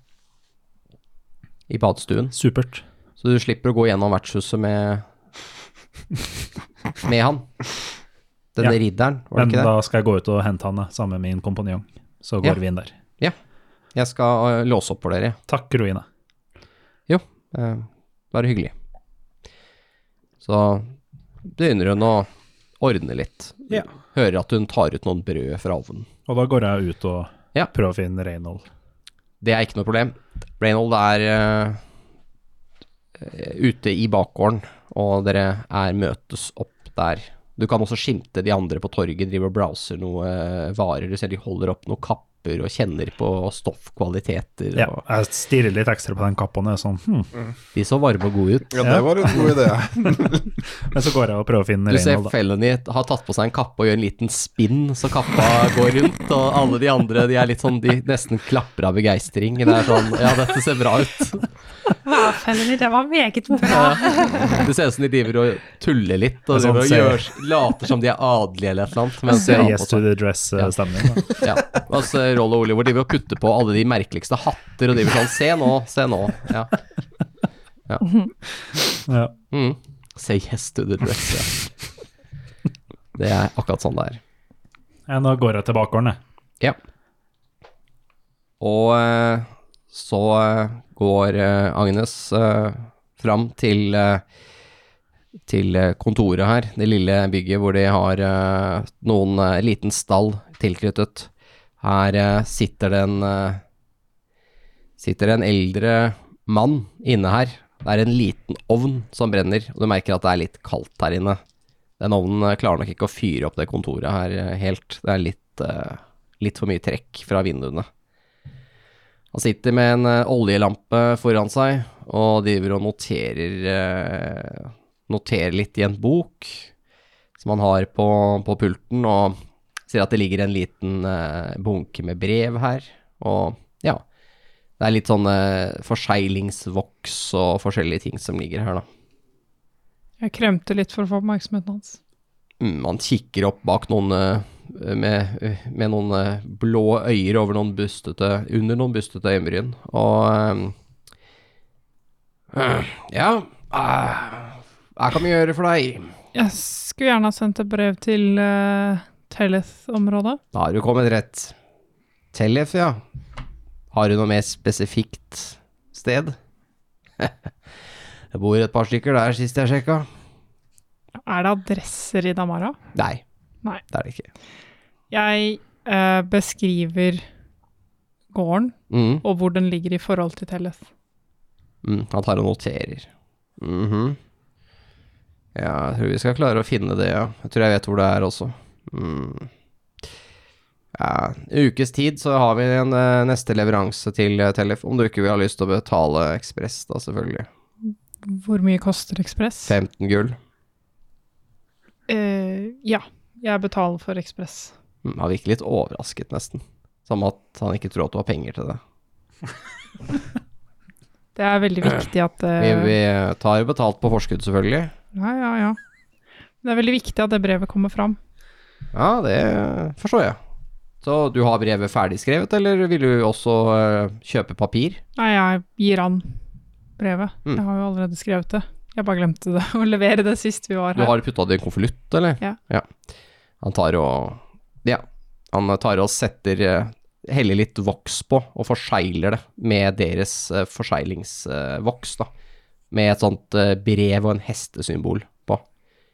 Speaker 3: I badstuen.
Speaker 4: Supert.
Speaker 3: Så du slipper å gå gjennom vertshuset med med han. Denne
Speaker 4: Ja.
Speaker 3: ridderen, var det
Speaker 4: Men
Speaker 3: ikke det?
Speaker 4: da skal jeg gå ut og hente han da, sammen med min kompanjong. Så
Speaker 3: Ja.
Speaker 4: går vi inn der.
Speaker 3: Jeg skal eh, låse opp for dere.
Speaker 4: Takk, Roine.
Speaker 3: Eh, Bare hyggelig. Så begynner hun å ordne litt.
Speaker 4: Ja.
Speaker 3: Hører at hun tar ut noen brød fra ovnen.
Speaker 4: Og da går jeg ut og
Speaker 3: Ja.
Speaker 4: prøver å finne Reynold.
Speaker 3: Det er ikke noe problem. Reynold er eh, ute i bakgården, og dere er møtes opp der. Du kan også skimte de andre på torget, driver og browser noe eh, varer. Du ser de holder opp noe kapp kapper og kjenner på stoffkvaliteter.
Speaker 4: Ja,
Speaker 3: Og
Speaker 4: jeg stirrer litt ekstra på den kappa, og er sånn hm.
Speaker 3: de så varme og gode ut.
Speaker 6: Ja, det var en god idé.
Speaker 4: Men så går jeg og prøver å finne
Speaker 3: Du ser
Speaker 4: Reynold, da.
Speaker 3: Felony har tatt på seg en kappe og gjør en liten spinn så kappa går rundt, og alle de andre de er litt sånn, de nesten klapper av begeistring. Det er sånn, ja, dette ser bra ut.
Speaker 2: Fellene, det var meget bra.
Speaker 3: Ja. Det ser ut som de driver og tuller litt, og
Speaker 4: Det er sånn
Speaker 3: driver og
Speaker 4: ser-
Speaker 3: gjør, later som de er adelige eller et eller annet. mens de
Speaker 4: Ser
Speaker 3: har på
Speaker 4: Yes
Speaker 3: seg-
Speaker 4: to the dress-stemning. da.
Speaker 3: Ja. Og så Roll og Oliver driver og kutter på alle de merkeligste hatter og driver sånn Se nå, se nå. Ja.
Speaker 4: Ja.
Speaker 3: Mm. Say yes to the dress. Ja. Det er akkurat sånn det er.
Speaker 4: Ja, Nå går jeg til bakgården, jeg.
Speaker 3: Ja. Og eh, så eh, går eh, Agnes eh, fram til eh, til eh, kontoret her, det lille bygget hvor de har eh, noen eh, liten stall tilknyttet. Her eh, sitter det en eh, sitter en eldre mann inne her. Det er en liten ovn som brenner, og du merker at det er litt kaldt her inne. Den ovnen eh, klarer nok ikke å fyre opp det kontoret her eh, helt. Det er litt eh, litt for mye trekk fra vinduene. Han sitter med en eh, oljelampe foran seg og driver og noterer eh, noterer litt i en bok som han har på, på pulten, og sier at det ligger en liten eh, bunke med brev her. Og ja, det er litt sånn eh, forseglingsvoks og forskjellige ting som ligger her, da.
Speaker 2: Jeg kremte litt for å få oppmerksomheten hans.
Speaker 3: Mm, han kikker opp bak noen eh, med, med noen eh, blå øyer over noen bustete, under noen bustete øyenbryn. Og eh, eh, Ja, eh, hva kan vi gjøre for deg?
Speaker 2: Jeg skulle gjerne ha sendt et brev til uh, Telleth-området.
Speaker 3: Da har du kommet rett. Tellef, ja. Har du noe mer spesifikt sted? Det bor et par stykker der sist jeg sjekka.
Speaker 2: Er det adresser i Damara?
Speaker 3: Nei,
Speaker 2: Nei.
Speaker 3: det er det ikke.
Speaker 2: Jeg eh, beskriver gården
Speaker 3: Mm.
Speaker 2: og hvor den ligger i forhold til Telleth.
Speaker 3: Mm, han tar og noterer. Mhm. Ja, jeg tror vi skal klare å finne det, ja. Jeg tror jeg vet hvor det er også. Mm. Ja, en ukes tid så har vi en eh, neste leveranse til eh, Tellef, om du ikke vil ha lyst til å betale ekspress, da selvfølgelig.
Speaker 2: Hvor mye koster Ekspress?
Speaker 3: 15 gull.
Speaker 2: Eh, ja, jeg betaler for Ekspress.
Speaker 3: Mm, han virker litt overrasket, nesten. Som at han ikke tror at du har penger til det.
Speaker 2: Det er veldig viktig at det
Speaker 3: Vi, vi tar jo betalt på forskudd, selvfølgelig.
Speaker 2: Ja, ja, ja. Det er veldig viktig at det brevet kommer fram.
Speaker 3: Ja, det forstår jeg. Så du har brevet ferdigskrevet, eller vil du også eh, kjøpe papir?
Speaker 2: Nei, jeg gir an brevet.
Speaker 3: Mm.
Speaker 2: Jeg har jo allerede skrevet det. Jeg bare glemte det å levere det sist vi var
Speaker 3: Du
Speaker 2: her.
Speaker 3: har putta det i en konvolutt, eller?
Speaker 2: Ja.
Speaker 3: Han tar og Ja. Han tar og setter eh, Heller litt voks på og forsegler det med deres eh, forseglingsvoks, da. Med et sånt eh, brev og en hestesymbol på.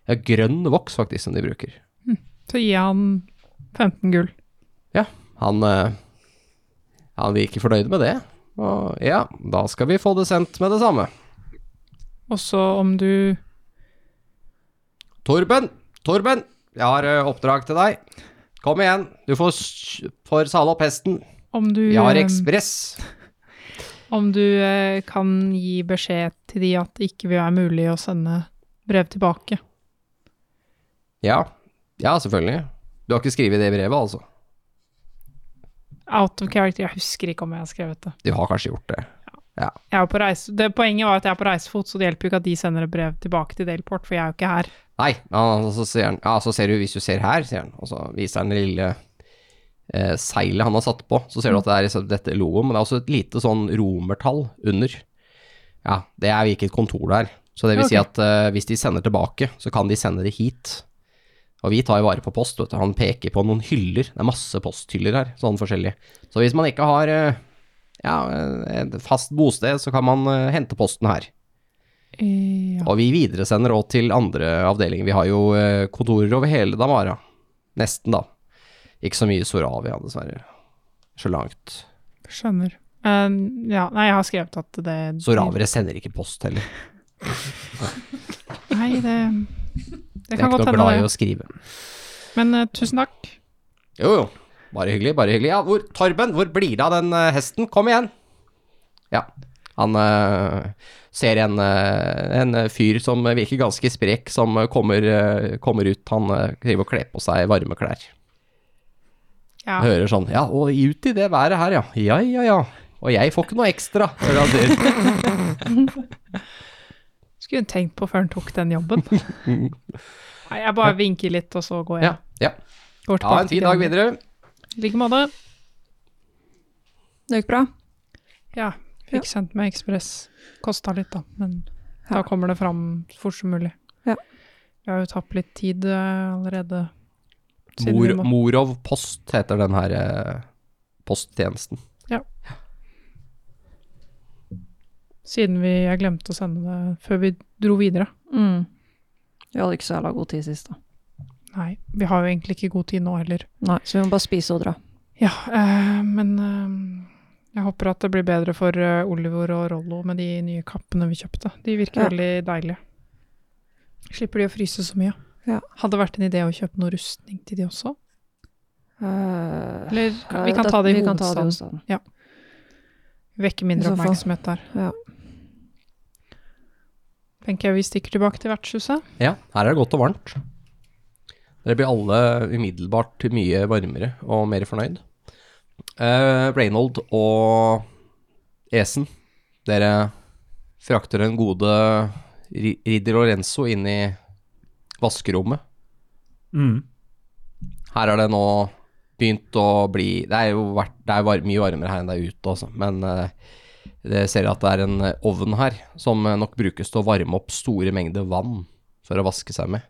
Speaker 3: Ja, grønn voks, faktisk, som de bruker.
Speaker 2: Så gir jeg han 15 gull.
Speaker 3: Han eh, Han virker fornøyd med det. Og ja, da skal vi få det sendt med det samme.
Speaker 2: Og så om du
Speaker 3: Torben! Torben! Jeg har eh, oppdrag til deg. Kom igjen, du får, s- får sale opp hesten.
Speaker 2: Om du,
Speaker 3: Vi har
Speaker 2: eh,
Speaker 3: ekspress.
Speaker 2: om du eh, kan gi beskjed til de at det ikke vil være mulig å sende brev tilbake.
Speaker 3: Ja. ja, selvfølgelig. Du har ikke skrevet det i brevet, altså?
Speaker 2: Out of character. Jeg husker ikke om jeg har skrevet det.
Speaker 3: Du har kanskje gjort det.
Speaker 2: Jeg er jo på reise, det poenget var at jeg er på reisefot, så det hjelper jo ikke at de sender et brev tilbake til Delport, for jeg er jo ikke her.
Speaker 3: Nei, ja, og så sier han Ja, så ser du, hvis du ser her, sier han, og så viser han det lille eh, seilet han har satt på, så ser du at det er liksom dette logoen, men det er også et lite sånn romertall under. Ja, det er hvilket kontor det er. Så det vil si
Speaker 2: Ok.
Speaker 3: at eh, hvis de sender tilbake, så kan de sende det hit. Og vi tar jo vare på post, vet du. Han peker på noen hyller. Det er masse posthyller her, sånn forskjellig. Så hvis man ikke har eh, ja, eh, et fast bosted, så kan man eh, hente posten her.
Speaker 2: Eh, ja.
Speaker 3: Og vi videresender òg til andre avdelinger. Vi har jo eh, kontorer over hele Damara. Nesten, da. Ikke så mye i Soravia, dessverre. Så langt.
Speaker 2: Skjønner. Eh, ja, nei, jeg har skrevet at det
Speaker 3: Soravere sender ikke post heller.
Speaker 2: Nei, det Det
Speaker 3: Jeg er
Speaker 2: kan
Speaker 3: ikke
Speaker 2: godt
Speaker 3: noe
Speaker 2: hende,
Speaker 3: glad i
Speaker 2: det.
Speaker 3: å skrive.
Speaker 2: Men eh, tusen takk.
Speaker 3: Jo, jo. Bare hyggelig, bare hyggelig. Ja, hvor, Torben, hvor blir det av den eh, hesten? Kom igjen! Ja, han eh, ser en, eh, en eh, fyr som virker ganske sprek, som eh, kommer, eh, kommer ut. Han eh, driver og kler på seg varme klær.
Speaker 2: Ja.
Speaker 3: Hører sånn, ja, og ut i det været her, ja. Ja, ja, ja. Og jeg får ikke noe ekstra. hører han sier.
Speaker 2: Skulle hun tenkt på før hun tok den jobben. Nei, jeg bare vinker litt, og så går jeg.
Speaker 3: Ja, ja.
Speaker 2: Går
Speaker 3: Ha en fin dag
Speaker 2: til den.
Speaker 3: videre.
Speaker 2: I like måte.
Speaker 5: Det gikk bra.
Speaker 2: Ja. Fikk sendt meg ekspress. Kosta litt, da, men da
Speaker 5: Ja.
Speaker 2: kommer det fram så fort som mulig.
Speaker 5: Ja.
Speaker 2: Vi har jo tapt litt tid eh, allerede. Siden
Speaker 3: Mor,
Speaker 2: vi må-
Speaker 3: Morov Post heter den her eh, posttjenesten.
Speaker 2: Siden vi, jeg glemte å sende det før vi dro videre.
Speaker 5: Mm. Vi hadde ikke så jævla god tid sist, da.
Speaker 2: Nei, vi har jo egentlig ikke god tid nå heller.
Speaker 5: Nei, så vi må bare spise og dra.
Speaker 2: Ja, eh, men eh, jeg håper at det blir bedre for eh, Oliver og Rollo med de nye kappene vi kjøpte. De virker
Speaker 5: Ja.
Speaker 2: veldig deilige. Slipper de å fryse så mye.
Speaker 5: Ja.
Speaker 2: Hadde vært en idé å kjøpe noe rustning til de også.
Speaker 5: Eh,
Speaker 2: Eller
Speaker 5: eh,
Speaker 2: vi kan ta det i
Speaker 5: vi kan ta
Speaker 2: hovedstaden.
Speaker 5: hovedstaden.
Speaker 2: Vekke
Speaker 5: I
Speaker 2: mindre
Speaker 5: så fall.
Speaker 2: oppmerksomhet der.
Speaker 5: Ja.
Speaker 2: Tenker jeg vi stikker tilbake til vertshuset.
Speaker 3: Ja, her er det godt og varmt. Dere blir alle umiddelbart mye varmere og mer fornøyd. Eh, Reynold og Esen, dere frakter den gode Ri- ridder Lorenzo inn i vaskerommet.
Speaker 4: Mm.
Speaker 3: Her er det nå begynt å bli Det er jo vært, det er var, mye varmere her enn det er ute, altså. Men eh, dere ser at det er en eh, ovn her som eh, nok brukes til å varme opp store mengder vann for å vaske seg med.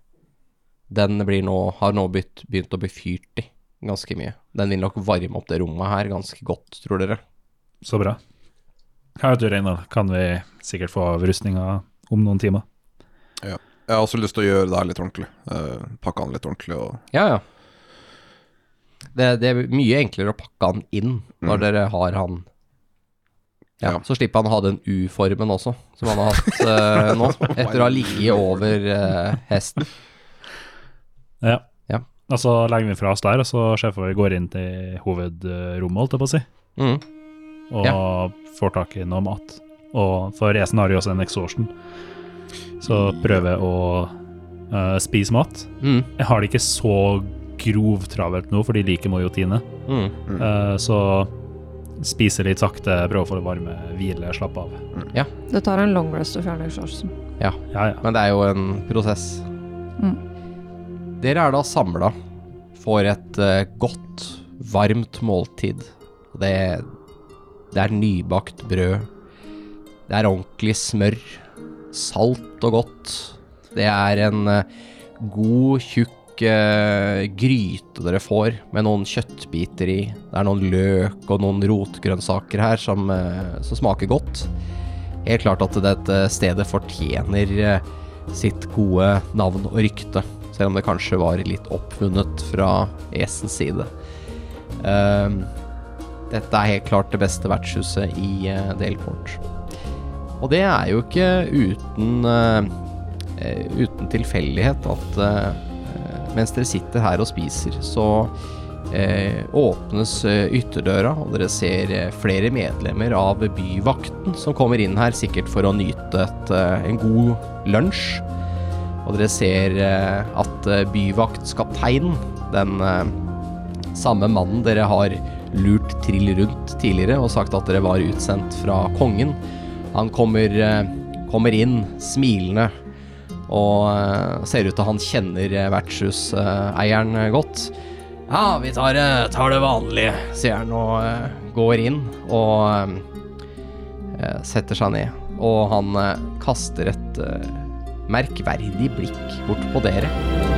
Speaker 3: Den blir nå, har nå begynt, begynt å bli fyrt i ganske mye. Den vil nok varme opp det rommet her ganske godt, tror dere.
Speaker 4: Så bra. Her vet du, Reinar, kan vi sikkert få av rustninga om noen timer.
Speaker 6: Jeg har også lyst til å gjøre det her litt ordentlig. Eh, pakke han litt ordentlig og
Speaker 3: Ja, ja. Det, det er mye enklere å pakke han inn når dere har han ja,
Speaker 6: Ja.
Speaker 3: Så slipper han å ha den U-formen også, som han har hatt eh, nå, etter å ha ligget over eh, hesten.
Speaker 4: Ja.
Speaker 3: Ja.
Speaker 4: Og så legger vi fra oss der, og så sjefer vi går inn til hovedrommet, holdt jeg på å si,
Speaker 3: Mm.
Speaker 4: og får tak i noe mat. Og for resen har jo også en exhaustion, så prøver jeg å eh, spise mat.
Speaker 3: Mm.
Speaker 4: Jeg har det ikke så grovtravelt nå, for de liker mojotine.
Speaker 3: Mm.
Speaker 4: Eh, så spiser litt sakte, prøver å få det varme, hvile, slappe av.
Speaker 5: Det tar en long rest å fjerne exhausten.
Speaker 4: Ja, ja.
Speaker 3: Men det er jo en prosess. Dere er da samla for et eh, godt, varmt måltid. Og Det, det er nybakt brød. Det er ordentlig smør. Salt og godt. Det er en eh, god, tjukk eh, gryte dere får, med noen kjøttbiter i. Det er noen løk og noen rotgrønnsaker her som, eh, som smaker godt. Helt klart at dette stedet eh, fortjener eh, sitt gode navn og rykte, selv om det kanskje var litt oppfunnet fra Esens side. Ehm, dette er helt klart det beste vertshuset i eh, Delport. Og det er jo ikke uten eh, eh, uten tilfeldighet at eh, eh, mens dere sitter her og spiser, så eh, åpnes eh, ytterdøra, og dere ser eh, flere medlemmer av byvakten som kommer inn her, sikkert for å nyte et, eh, en god lunsj. Og dere ser eh, at eh, byvaktskapteinen, den eh, samme mannen dere har lurt trill rundt tidligere og sagt at dere var utsendt fra kongen, han kommer, eh, kommer inn smilende og eh, ser ut til han kjenner eh, vertshuseieren eh, godt. Ja, vi tar, eh, tar det vanlige, sier han og eh, går inn og eh, setter seg ned. Og han eh, kaster et eh, merkverdig blikk bort på dere.